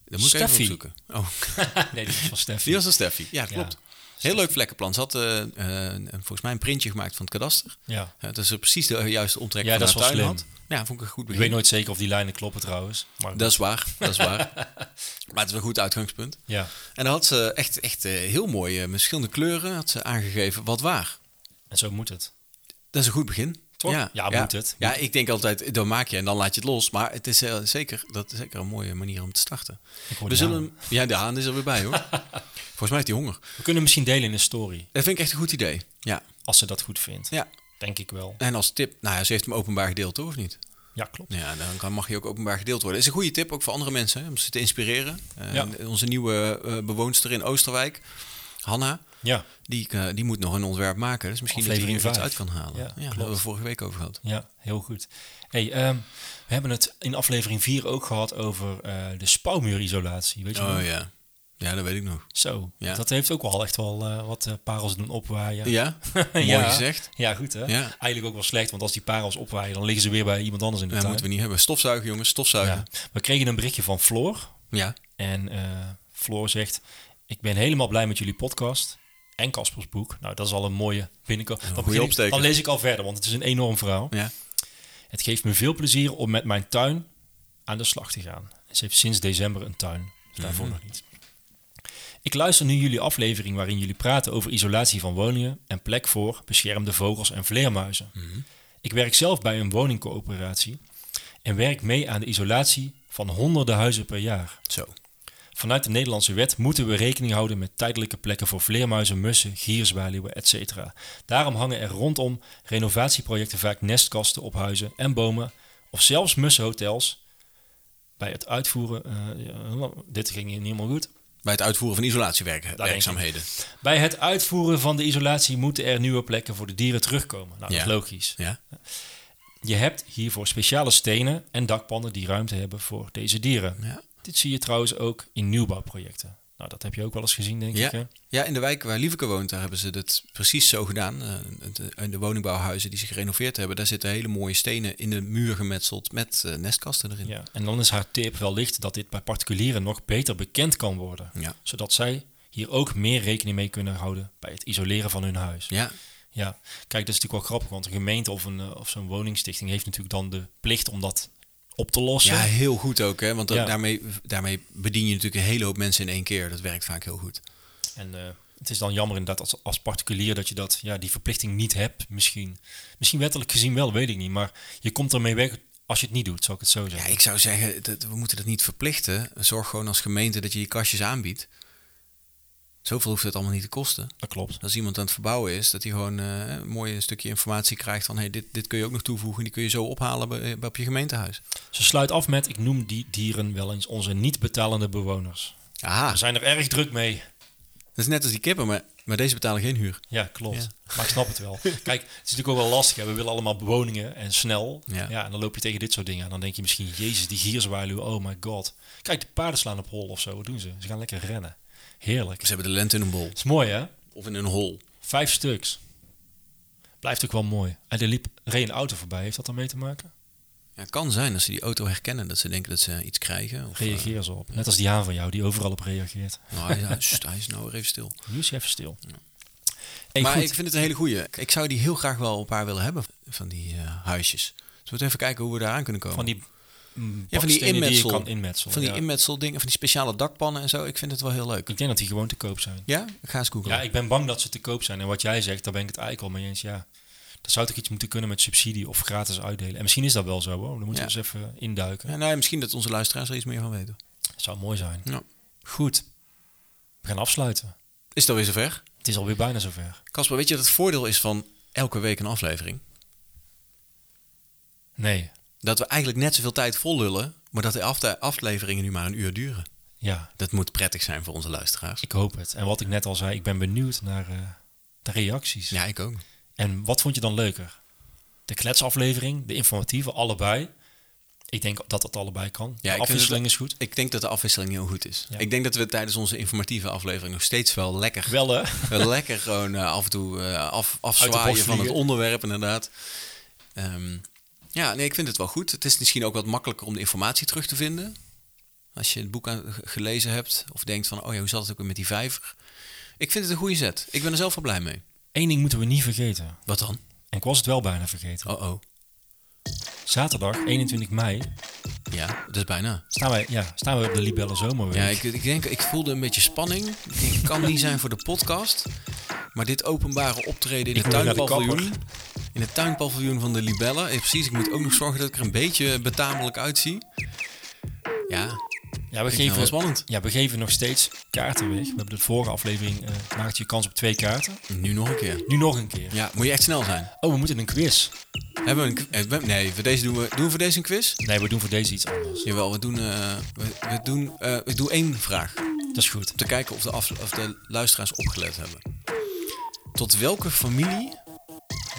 Speaker 1: Dat moet ik even
Speaker 2: Steffi.
Speaker 1: opzoeken. Oh,
Speaker 2: Nee, die was van Steffi.
Speaker 1: die was een Steffi. Ja, klopt.
Speaker 2: Steffi.
Speaker 1: Heel leuk vlekkenplan. Ze had eh, eh, een- volgens mij een printje gemaakt van het kadaster.
Speaker 2: Ja.
Speaker 1: Ja, dat ze precies de juiste omtrek
Speaker 2: Ja,
Speaker 1: van
Speaker 2: dat
Speaker 1: haar
Speaker 2: is wel
Speaker 1: tuin
Speaker 2: slim.
Speaker 1: had. Ja, vond ik een goed
Speaker 2: Ik
Speaker 1: begin.
Speaker 2: weet nooit zeker of die lijnen kloppen trouwens. Maar
Speaker 1: Dat is waar, dat is waar. maar het is een goed uitgangspunt.
Speaker 2: ja.
Speaker 1: En dan had ze echt, echt eh, heel mooi, eh, verschillende kleuren had ze aangegeven wat waar.
Speaker 2: En zo moet het.
Speaker 1: Dat is een goed begin.
Speaker 2: Toch? Ja, moet het.
Speaker 1: Ja, ik denk altijd, dan maak je en dan laat je het los. Maar het is eh, zeker, dat is zeker een mooie manier om te starten.
Speaker 2: Ik hoor
Speaker 1: We
Speaker 2: die
Speaker 1: zullen,
Speaker 2: haan.
Speaker 1: hem- ja, de haan is er weer bij hoor. Volgens mij heeft hij honger.
Speaker 2: We kunnen hem misschien delen in de story,
Speaker 1: Dat vind ik echt een goed idee. Ja,
Speaker 2: als ze dat goed vindt.
Speaker 1: ja.
Speaker 2: Denk ik wel.
Speaker 1: En als tip, nou ja, ze heeft hem openbaar gedeeld, toch, of niet?
Speaker 2: Ja, klopt.
Speaker 1: Ja, dan kan, mag je ook openbaar gedeeld worden. Is een goede tip ook voor andere mensen hè, om ze te inspireren. Eh,
Speaker 2: Ja.
Speaker 1: Onze nieuwe eh, bewoonster in Oosterwijk, Hanna,
Speaker 2: Ja,
Speaker 1: die, eh, die moet nog een ontwerp maken. Dus misschien dat je hier
Speaker 2: Aflevering
Speaker 1: iets uit
Speaker 2: vijf.
Speaker 1: kan halen.
Speaker 2: Ja,
Speaker 1: Ja, daar
Speaker 2: klopt.
Speaker 1: hebben we vorige week over gehad.
Speaker 2: ja heel goed. Hey, ehm, we hebben het in aflevering 4 ook gehad over eh, de spouwmuurisolatie. Weet je nog?
Speaker 1: Oh ja. Ja, dat weet ik nog.
Speaker 2: Zo,
Speaker 1: Ja.
Speaker 2: dat heeft ook wel echt wel eh, wat eh, parels doen opwaaien.
Speaker 1: Ja, mooi gezegd.
Speaker 2: Ja, goed hè?
Speaker 1: Ja.
Speaker 2: Eigenlijk ook wel slecht, want als die parels opwaaien, dan liggen ze weer bij iemand anders in de
Speaker 1: Dat
Speaker 2: tuin.
Speaker 1: moeten we niet hebben. Stofzuigen, jongens,
Speaker 2: ja.
Speaker 1: stofzuigen.
Speaker 2: We kregen een berichtje van Floor.
Speaker 1: Ja.
Speaker 2: En eh, Floor zegt, ik ben helemaal blij met jullie podcast en Kaspers boek. Nou, dat is al een mooie binnenkomen. Dan, begin ik-
Speaker 1: opsteker.
Speaker 2: dan lees ik al verder, want het is een enorm verhaal.
Speaker 1: Ja.
Speaker 2: Het geeft me veel plezier om met mijn tuin aan de slag te gaan. Ze heeft sinds december een tuin, dus daarvoor nog niet. Ik luister nu jullie aflevering waarin jullie praten over isolatie van woningen en plek voor beschermde vogels en vleermuizen. Ik werk zelf bij een woningcoöperatie en werk mee aan de isolatie van honderden huizen per jaar.
Speaker 1: Zo.
Speaker 2: Vanuit de Nederlandse wet moeten we rekening houden met tijdelijke plekken voor vleermuizen, mussen, gierzwaluwen, etc. Daarom hangen er rondom renovatieprojecten vaak nestkasten op huizen en bomen of zelfs mussenhotels. Bij het uitvoeren, eh, dit ging hier niet helemaal goed.
Speaker 1: Bij het uitvoeren van isolatiewerken,
Speaker 2: denk ik.
Speaker 1: werkzaamheden.
Speaker 2: Bij het uitvoeren van de isolatie moeten er nieuwe plekken voor de dieren terugkomen. Nou, dat
Speaker 1: Ja.
Speaker 2: is logisch.
Speaker 1: Ja?
Speaker 2: Je hebt hiervoor speciale stenen en dakpannen die ruimte hebben voor deze dieren.
Speaker 1: Ja.
Speaker 2: Dit zie je trouwens ook in nieuwbouwprojecten. Nou, dat heb je ook wel eens gezien, denk ik. Hè?
Speaker 1: Ja. ja, in de wijk waar Lieveke woont, daar hebben ze dat precies zo gedaan. Eh, de- In de woningbouwhuizen die ze gerenoveerd hebben, daar zitten hele mooie stenen in de muur gemetseld met eh, nestkasten erin.
Speaker 2: Ja. En dan is haar tip wellicht dat dit bij particulieren nog beter bekend kan worden.
Speaker 1: Ja.
Speaker 2: Zodat zij hier ook meer rekening mee kunnen houden bij het isoleren van hun huis.
Speaker 1: Ja,
Speaker 2: Ja, kijk, dat is natuurlijk wel grappig, want een gemeente of, een, eh, of zo'n woningstichting heeft natuurlijk dan de plicht om dat op te lossen.
Speaker 1: ja heel goed ook. Hè? Want dat-
Speaker 2: Ja.
Speaker 1: daarmee, daarmee bedien je natuurlijk een hele hoop mensen in één keer. Dat werkt vaak heel goed.
Speaker 2: En eh, het is dan jammer inderdaad als, als particulier dat je dat, ja, die verplichting niet hebt misschien. Misschien wettelijk gezien wel, weet ik niet. Maar je komt ermee weg als je het niet doet, zou ik het zo
Speaker 1: Ja,
Speaker 2: zeggen.
Speaker 1: ik zou zeggen, dat, we moeten dat niet verplichten. Zorg gewoon als gemeente dat je die kastjes aanbiedt. Zoveel hoeft het allemaal niet te kosten.
Speaker 2: dat klopt.
Speaker 1: Als iemand aan het verbouwen is, dat hij gewoon eh, een mooi stukje informatie krijgt van hey, dit, dit kun je ook nog toevoegen. Die kun je zo ophalen bij, bij op je gemeentehuis.
Speaker 2: Ze sluit af met, ik noem die dieren wel eens onze niet betalende bewoners.
Speaker 1: Aha,
Speaker 2: We zijn er erg druk mee.
Speaker 1: dat is net als die kippen, maar, maar deze betalen geen huur.
Speaker 2: Ja, klopt. Maar ik snap het wel. Kijk, het is natuurlijk ook wel lastig. Hè. We willen allemaal woningen en snel.
Speaker 1: Ja.
Speaker 2: Ja. en dan loop je tegen dit soort dingen. En dan denk je misschien, jezus, die gierzwaluw, oh my god. Kijk, de paarden slaan op hol of zo. Wat doen ze? Ze gaan lekker rennen. Heerlijk.
Speaker 1: Ze hebben de lente in een bol.
Speaker 2: is mooi, hè?
Speaker 1: Of in een hol.
Speaker 2: Vijf stuks. Blijft ook wel mooi. En er liep reed een auto voorbij. Heeft dat ermee te maken?
Speaker 1: Ja, het kan zijn als ze die auto herkennen, dat ze denken dat ze iets krijgen. Of, eh,
Speaker 2: Reageer ze op. Net als die haan van jou die overal op reageert.
Speaker 1: nou, hij, hij- sst, hij is nou weer even stil.
Speaker 2: Nu is je even stil. Hey,
Speaker 1: maar
Speaker 2: goed.
Speaker 1: ik vind het een hele goeie. Ik zou die heel graag wel een paar willen hebben van die eh, huisjes. Dus we moeten even kijken hoe we daaraan kunnen komen.
Speaker 2: van die mm,
Speaker 1: ja, van die
Speaker 2: bakstenen die je
Speaker 1: inmetsel.
Speaker 2: kan inmetselen.
Speaker 1: Van die
Speaker 2: ja.
Speaker 1: inmetseldingen, van die speciale dakpannen en zo. Ik vind het wel heel leuk.
Speaker 2: Ik denk dat die gewoon te koop zijn.
Speaker 1: Ja? Ik ga eens googlen.
Speaker 2: Ja, ik ben bang dat ze te koop zijn. En wat jij zegt, daar ben ik het eigenlijk al mee eens. Ja, daar zou toch iets moeten kunnen met subsidie of gratis uitdelen. En misschien is dat wel zo. Hoor. Dan moeten
Speaker 1: Ja.
Speaker 2: we eens even induiken.
Speaker 1: Ja, nou, ja, misschien dat onze luisteraars er iets meer van weten.
Speaker 2: Dat zou mooi zijn.
Speaker 1: Ja.
Speaker 2: Goed. We gaan afsluiten.
Speaker 1: Is dat weer zover?
Speaker 2: Het is alweer bijna zover.
Speaker 1: Kasper, weet je wat het voordeel is van elke week een aflevering?
Speaker 2: Nee.
Speaker 1: Dat we eigenlijk net zoveel tijd vol lullen, maar dat de afte- afleveringen nu maar een uur duren.
Speaker 2: Ja,
Speaker 1: Dat moet prettig zijn voor onze luisteraars.
Speaker 2: Ik hoop het. En wat ik net al zei, ik ben benieuwd naar eh, de reacties.
Speaker 1: Ja, ik ook.
Speaker 2: En wat vond je dan leuker? De kletsaflevering, de informatieve, allebei. Ik denk dat dat allebei kan.
Speaker 1: Ja, ik
Speaker 2: Ja,
Speaker 1: vind
Speaker 2: afwisseling
Speaker 1: het-
Speaker 2: is goed.
Speaker 1: Ik denk dat de afwisseling heel goed is.
Speaker 2: Ja.
Speaker 1: Ik denk dat we tijdens onze informatieve aflevering nog steeds wel lekker,
Speaker 2: Wel, hè?
Speaker 1: wel lekker gewoon eh, af en toe eh, af, afzwaaien
Speaker 2: bocht
Speaker 1: van het
Speaker 2: vliegen.
Speaker 1: onderwerp inderdaad. Ehm, ja, nee, ik vind het wel goed. Het is misschien ook wat makkelijker om de informatie terug te vinden. Als je het boek aan, ge- gelezen hebt of denkt van, oh ja, hoe zat het ook weer met die vijver? Ik vind het een goede zet. Ik ben er zelf wel blij mee.
Speaker 2: Eén ding moeten we niet vergeten.
Speaker 1: Wat dan?
Speaker 2: En ik was het wel bijna vergeten.
Speaker 1: Oh oh.
Speaker 2: Zaterdag, 21 mei,
Speaker 1: Ja, dat is bijna.
Speaker 2: staan wij, ja, staan wij op de Libelle Zomerweek.
Speaker 1: Ja, ik, ik denk, ik voelde een beetje spanning. Ik denk, het kan niet zijn voor de podcast. Maar dit openbare optreden in het
Speaker 2: Ik moet naar de
Speaker 1: tuinpaviljoen. In het tuinpaviljoen van de Libellen. Eh, precies, ik moet ook nog zorgen dat ik er een beetje betamelijk uitzie. Ja,
Speaker 2: Ja, we
Speaker 1: vind het wel
Speaker 2: geven,
Speaker 1: spannend.
Speaker 2: ja, we geven nog steeds kaarten weg. We hebben de vorige aflevering, eh maakte je kans op twee kaarten.
Speaker 1: nu nog een keer.
Speaker 2: Nu nog een keer.
Speaker 1: Ja, moet je echt snel zijn.
Speaker 2: Oh, we moeten een quiz.
Speaker 1: Hebben we een, qu- eh, we- nee, voor deze doen we, doen we voor deze een quiz?
Speaker 2: Nee, we doen voor deze iets anders.
Speaker 1: Jawel, we doen, eh, we, we doen, eh, ik doe één vraag.
Speaker 2: Dat is goed.
Speaker 1: Om te kijken of de, af, of de luisteraars opgelet hebben. Tot welke familie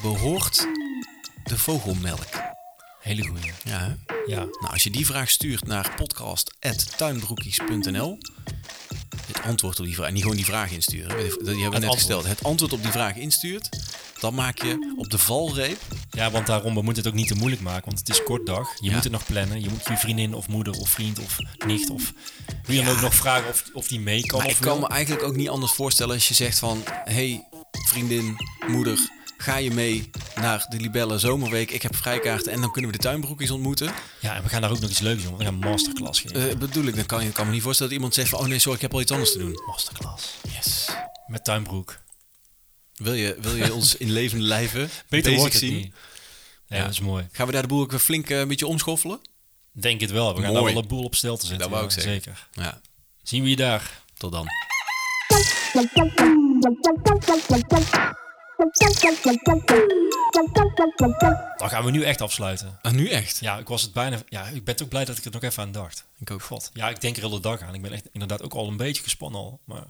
Speaker 1: behoort de vogelmelk?
Speaker 2: Hele goeie.
Speaker 1: Ja, hè?
Speaker 2: Ja.
Speaker 1: Nou, als je die vraag stuurt naar podcast.tuinbroekies.nl het antwoord op die vraag, en niet gewoon die vraag insturen, die hebben we net
Speaker 2: antwoord.
Speaker 1: gesteld. Het antwoord op die vraag instuurt, dan maak je op de valreep.
Speaker 2: Ja, want daarom, we moeten het ook niet te moeilijk maken, want het is kort dag. Je
Speaker 1: Ja.
Speaker 2: moet het nog plannen. Je moet je vriendin of moeder of vriend of nicht of wie dan ook nog vragen of, of die mee kan.
Speaker 1: Maar
Speaker 2: of
Speaker 1: ik kan
Speaker 2: wil.
Speaker 1: me eigenlijk ook niet anders voorstellen als je zegt van, hey vriendin, moeder, ga je mee naar de Libelle Zomerweek? Ik heb vrijkaarten en dan kunnen we de tuinbroekjes ontmoeten.
Speaker 2: Ja, en we gaan daar ook nog iets leuks doen. want We gaan een masterclass geven.
Speaker 1: Eh, bedoel ik, dan kan, ik kan me niet voorstellen dat iemand zegt van, oh nee, sorry, ik heb al iets anders te doen.
Speaker 2: masterclass.
Speaker 1: Yes.
Speaker 2: Met Tuinbroek.
Speaker 1: Wil je, wil je ons in levende lijven
Speaker 2: Beter
Speaker 1: bezig
Speaker 2: wordt het
Speaker 1: zien?
Speaker 2: niet. Nee,
Speaker 1: Ja.
Speaker 2: dat is mooi.
Speaker 1: Gaan we daar de boel ook weer flink eh, een beetje omschoffelen?
Speaker 2: Denk het wel. We gaan
Speaker 1: Mooi.
Speaker 2: daar wel een boel op stel te
Speaker 1: Dat
Speaker 2: zetten.
Speaker 1: wou
Speaker 2: ja,
Speaker 1: ik zeggen.
Speaker 2: Zeker.
Speaker 1: Ja.
Speaker 2: Zien we je daar.
Speaker 1: Tot dan.
Speaker 2: Dan gaan we nu echt afsluiten.
Speaker 1: Ah, nu echt?
Speaker 2: Ja, ik was het bijna. Ja, ik ben toch blij dat ik er nog even aan dacht.
Speaker 1: Ik ook.
Speaker 2: God, ja, ik denk er heel de dag aan. Ik ben echt inderdaad ook al een beetje gespannen al. Maar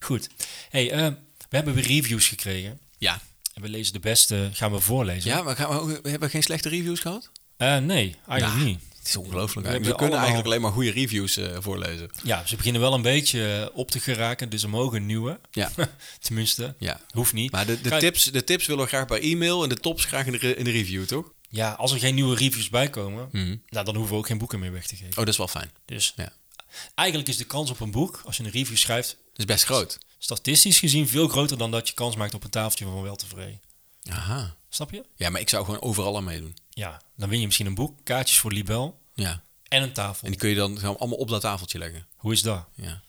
Speaker 2: goed. hey, eh, we hebben weer reviews gekregen.
Speaker 1: Ja.
Speaker 2: En we lezen de beste, gaan we voorlezen.
Speaker 1: Ja, maar gaan we, ook- we hebben geen slechte reviews gehad?
Speaker 2: Eh, nee, eigenlijk
Speaker 1: Ja.
Speaker 2: niet.
Speaker 1: Het is ongelooflijk.
Speaker 2: We
Speaker 1: We,
Speaker 2: hebben
Speaker 1: kunnen
Speaker 2: allemaal-
Speaker 1: eigenlijk alleen maar goede reviews eh, voorlezen.
Speaker 2: Ja, ze beginnen wel een beetje eh, op te geraken, dus er mogen een nieuwe.
Speaker 1: Ja.
Speaker 2: Tenminste,
Speaker 1: Ja.
Speaker 2: hoeft niet.
Speaker 1: Maar de, de,
Speaker 2: Kijk,
Speaker 1: tips, de tips willen we graag bij e-mail en de tops graag in de, re- in de review, toch?
Speaker 2: Ja, als er geen nieuwe reviews bij komen, nou, dan hoeven we ook geen boeken meer weg te geven.
Speaker 1: Oh, dat is wel fijn.
Speaker 2: Dus
Speaker 1: Mhm. Ja.
Speaker 2: eigenlijk is de kans op een boek, als je een review schrijft,
Speaker 1: Dat is best groot.
Speaker 2: statistisch gezien veel groter dan dat je kans maakt op een tafeltje van weltevreden.
Speaker 1: Aha.
Speaker 2: Snap je?
Speaker 1: Ja, maar ik zou gewoon overal aan meedoen.
Speaker 2: Ja, dan win je misschien een boek, kaartjes voor Libel
Speaker 1: Ja.
Speaker 2: en een tafel.
Speaker 1: En die kun je dan gewoon allemaal op dat tafeltje leggen.
Speaker 2: Hoe is dat?
Speaker 1: Ja.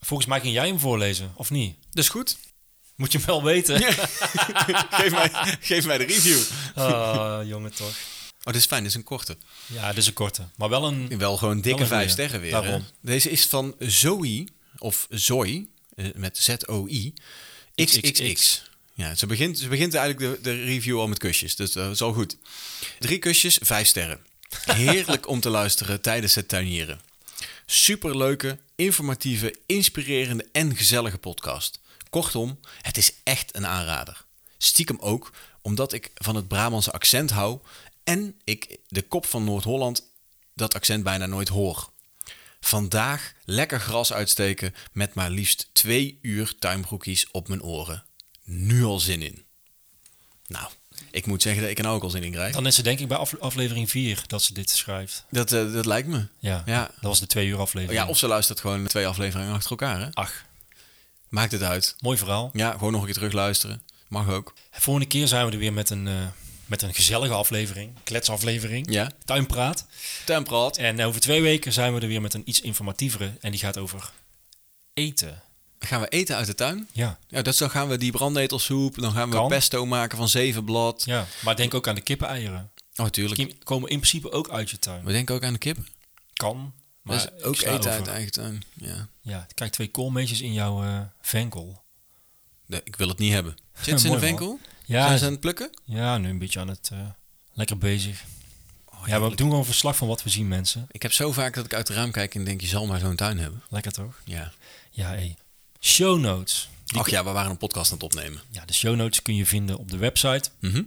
Speaker 2: Volgens mij ging jij hem voorlezen, of niet?
Speaker 1: Dat is Dus goed.
Speaker 2: Moet je hem wel weten.
Speaker 1: geef, mij, geef mij de review.
Speaker 2: Ah, jongen toch.
Speaker 1: Oh, dat is fijn. Dat is een korte.
Speaker 2: Ja, dit is een korte. Maar wel een...
Speaker 1: Wel gewoon
Speaker 2: Wel
Speaker 1: dikke
Speaker 2: een
Speaker 1: vijf
Speaker 2: goeie.
Speaker 1: sterren weer.
Speaker 2: Daarom.
Speaker 1: hè? Deze is van Zoe, of Zoe, eh, met Z-O-I, XXX. Ja, ze begint, ze begint eigenlijk de, de review al met kusjes, dus dat is al goed. Drie kusjes, vijf sterren. Heerlijk om te luisteren tijdens het tuinieren. Superleuke, informatieve, inspirerende en gezellige podcast. Kortom, het is echt een aanrader. Stiekem ook, omdat ik van het Brabantse accent hou en ik de kop van Noord-Holland dat accent bijna nooit hoor. Vandaag lekker gras uitsteken met maar liefst twee uur tuinbroekies op mijn oren. Nu al zin in. Nou, ik moet zeggen dat ik er nou ook al zin in krijg.
Speaker 2: Dan is ze denk ik bij afle- aflevering 4 dat ze dit schrijft.
Speaker 1: Dat, eh, dat lijkt me.
Speaker 2: Ja,
Speaker 1: ja.
Speaker 2: dat was de twee uur aflevering.
Speaker 1: Ja, of ze luistert gewoon twee afleveringen achter elkaar. Hè?
Speaker 2: Ach,
Speaker 1: Maakt het uit.
Speaker 2: mooi verhaal.
Speaker 1: Ja, gewoon nog een keer terugluisteren. Mag ook.
Speaker 2: Volgende keer zijn we er weer met een, eh, met een gezellige aflevering. Kletsaflevering.
Speaker 1: Ja.
Speaker 2: Tuinpraat.
Speaker 1: Tempraat.
Speaker 2: En over twee weken zijn we er weer met een iets informatievere. En die gaat over eten.
Speaker 1: Gaan we eten uit de tuin?
Speaker 2: Ja.
Speaker 1: Ja, dat zo gaan we die brandnetelsoep. Dan gaan we
Speaker 2: Kan.
Speaker 1: pesto maken van zevenblad.
Speaker 2: ja. Maar denk ook aan de kippeneieren.
Speaker 1: Oh, tuurlijk.
Speaker 2: Die komen in principe ook uit je tuin.
Speaker 1: We denken ook aan de kip.
Speaker 2: Kan. Maar
Speaker 1: Maar
Speaker 2: ik
Speaker 1: ook
Speaker 2: sla
Speaker 1: eten
Speaker 2: over.
Speaker 1: uit eigen tuin. Ja.
Speaker 2: Ja, kijk, twee koolmeesjes in jouw eh venkel.
Speaker 1: Nee, ik wil het niet hebben. Zit ze in
Speaker 2: Mooi,
Speaker 1: de
Speaker 2: man.
Speaker 1: winkel?
Speaker 2: Ja,
Speaker 1: Zijn ze aan het plukken?
Speaker 2: ja, nu een beetje aan het... eh, lekker bezig. ja, we
Speaker 1: Oh, heerlijk.
Speaker 2: doen gewoon verslag van wat we zien, mensen.
Speaker 1: Ik heb zo vaak dat ik uit het raam kijk en denk, je zal maar zo'n tuin hebben.
Speaker 2: Lekker toch?
Speaker 1: Ja.
Speaker 2: Ja, hé. Show notes. Die
Speaker 1: Ach ja, we waren een podcast aan het opnemen.
Speaker 2: Ja, de show notes kun je vinden op de website
Speaker 1: Mhm.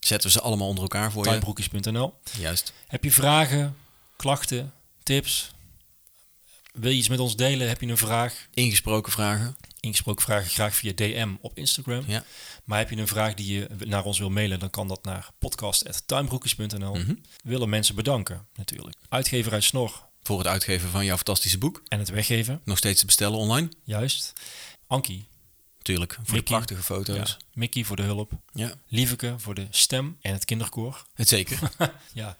Speaker 1: Zetten we ze allemaal onder elkaar voor je.
Speaker 2: tuinbroekjes.nl.
Speaker 1: Juist.
Speaker 2: Heb je vragen, klachten, tips? Wil je iets met ons delen? Heb je een vraag?
Speaker 1: Ingesproken vragen.
Speaker 2: Ingesproken vragen graag via DM op Instagram.
Speaker 1: Ja.
Speaker 2: Maar heb je een vraag die je naar ons wil mailen, dan kan dat naar podcast.tuinbroekjes.nl. Willen mensen bedanken, natuurlijk. Uitgever uit Snor
Speaker 1: Voor het uitgeven van jouw fantastische boek.
Speaker 2: en het weggeven,
Speaker 1: Nog steeds te bestellen online.
Speaker 2: juist. Ankie,
Speaker 1: Tuurlijk. Voor de
Speaker 2: Mickey.
Speaker 1: prachtige foto's.
Speaker 2: ja. Mickey voor de hulp.
Speaker 1: Ja.
Speaker 2: Lieveke voor de stem en het kinderkoor.
Speaker 1: Het zeker.
Speaker 2: ja,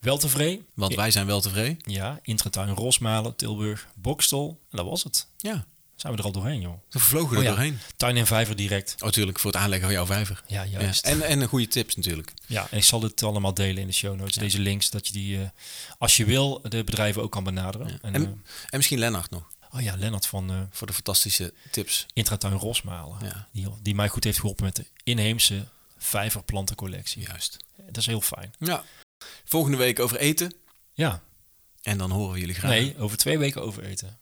Speaker 2: weltevreden.
Speaker 1: Want wij zijn wel tevreden.
Speaker 2: Ja, Intratuin, Rosmalen, Tilburg, Bokstel. En dat was het.
Speaker 1: Ja.
Speaker 2: Zijn we er al doorheen, joh.
Speaker 1: We vlogen er
Speaker 2: Oh ja,
Speaker 1: doorheen.
Speaker 2: Tuin en Vijver direct.
Speaker 1: Oh, tuurlijk. Voor het aanleggen van jouw vijver.
Speaker 2: Ja,
Speaker 1: Ja.
Speaker 2: juist. Ja, en,
Speaker 1: En, en goede tips natuurlijk.
Speaker 2: ik zal dit allemaal delen in de show notes. Deze links, dat je die, eh, als je wil, de bedrijven ook kan benaderen. En,
Speaker 1: En, eh, en misschien Lennart nog.
Speaker 2: eh, oh ja, Lennart van eh
Speaker 1: Voor de fantastische tips.
Speaker 2: Intratuin Rosmalen.
Speaker 1: Ja.
Speaker 2: Die, die mij goed heeft geholpen met de inheemse vijverplantencollectie. Eh,
Speaker 1: Juist.
Speaker 2: Dat is heel fijn.
Speaker 1: Ja. Volgende week over eten.
Speaker 2: Ja,
Speaker 1: En dan horen we jullie graag.
Speaker 2: nee, over twee weken overeten.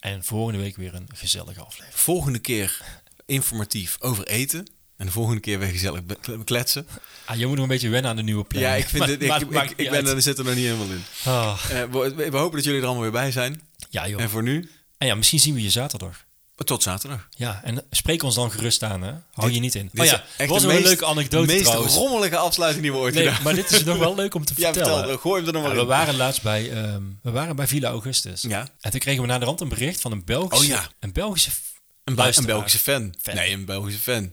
Speaker 2: En volgende week weer een gezellige aflevering.
Speaker 1: Volgende keer informatief over eten. En de volgende keer weer gezellig be- kle- kletsen.
Speaker 2: Ah, je moet nog een beetje wennen aan de nieuwe plan.
Speaker 1: Ja, ik vind het. Ik, ik, ik, ben
Speaker 2: een.
Speaker 1: er, zit er nog niet helemaal in. Eh, we, we- we hopen dat jullie er allemaal weer bij zijn.
Speaker 2: Ah. Ja, joh.
Speaker 1: En voor nu,
Speaker 2: En ja, misschien zien we je zaterdag.
Speaker 1: tot zaterdag.
Speaker 2: Ja, en spreek ons dan gerust aan, hè? Hou je niet in.
Speaker 1: Dit
Speaker 2: oh
Speaker 1: is
Speaker 2: ja,
Speaker 1: echt de
Speaker 2: was nog een
Speaker 1: meest-
Speaker 2: leuke anekdote
Speaker 1: meest
Speaker 2: trouwens.
Speaker 1: rommelige afsluiting die we ooit
Speaker 2: Nee,
Speaker 1: gedaan
Speaker 2: maar dit is nog wel leuk om te
Speaker 1: Ja,
Speaker 2: vertellen.
Speaker 1: vertel, gooi hem er nog maar
Speaker 2: Ja, we
Speaker 1: in.
Speaker 2: waren laatst bij, ehm, we waren bij Villa Augustus.
Speaker 1: Ja.
Speaker 2: En toen kregen we naar de rand een bericht van een Belgische,
Speaker 1: Oh ja.
Speaker 2: een Belgische
Speaker 1: Een, Bel- een
Speaker 2: luisteraar.
Speaker 1: Belgische fan.
Speaker 2: Fan.
Speaker 1: Nee, een Belgische fan.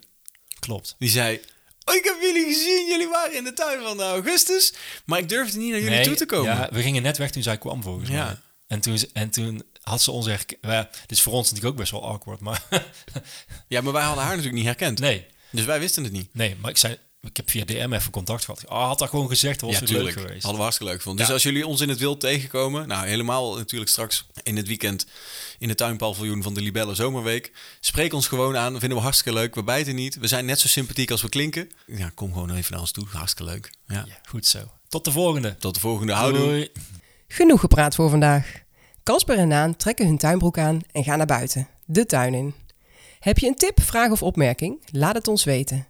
Speaker 2: Klopt.
Speaker 1: Die zei... Oh, ik heb jullie gezien. Jullie waren in de tuin van de Augustus. Maar ik durfde niet naar jullie
Speaker 2: Nee,
Speaker 1: toe te komen.
Speaker 2: Ja, we gingen net weg toen zij kwam volgens
Speaker 1: Ja.
Speaker 2: mij. En toen, ze- en toen had ze ons herkend. Ja, dit is voor ons natuurlijk ook best wel awkward, maar
Speaker 1: Ja, maar wij hadden haar natuurlijk niet herkend.
Speaker 2: nee,
Speaker 1: Dus wij wisten het niet.
Speaker 2: nee, maar ik zei, ik heb via DM even contact gehad. Ah, had dat gewoon gezegd, dat was
Speaker 1: Ja,
Speaker 2: het
Speaker 1: tuurlijk.
Speaker 2: leuk geweest.
Speaker 1: Hadden we hartstikke leuk gevonden. Dus
Speaker 2: Ja.
Speaker 1: als jullie ons in het wild tegenkomen, nou helemaal natuurlijk straks in het weekend in het tuinpaviljoen van de Libelle Zomerweek. Spreek ons gewoon aan, vinden we hartstikke leuk. We bijten niet, we zijn net zo sympathiek als we klinken. Ja, kom gewoon even naar ons toe, hartstikke leuk. Ja.
Speaker 2: Ja, goed zo. Tot de volgende.
Speaker 1: Tot de volgende, houdoe.
Speaker 2: Doei.
Speaker 4: Genoeg gepraat voor vandaag. Casper en Naan trekken hun tuinbroek aan en gaan naar buiten, de tuin in. Heb je een tip, vraag of opmerking? Laat het ons weten.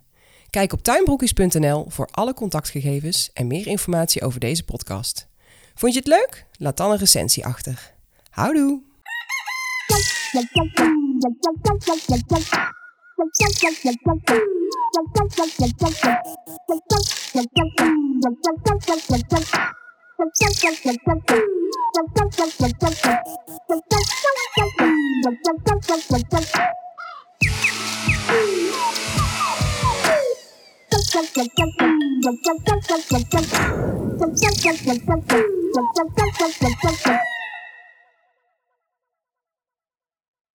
Speaker 4: Kijk op tuinbroekjes.nl voor alle contactgegevens en meer informatie over deze podcast. Vond je het leuk? Laat dan een recensie achter. Houdoe!
Speaker 3: Thank you.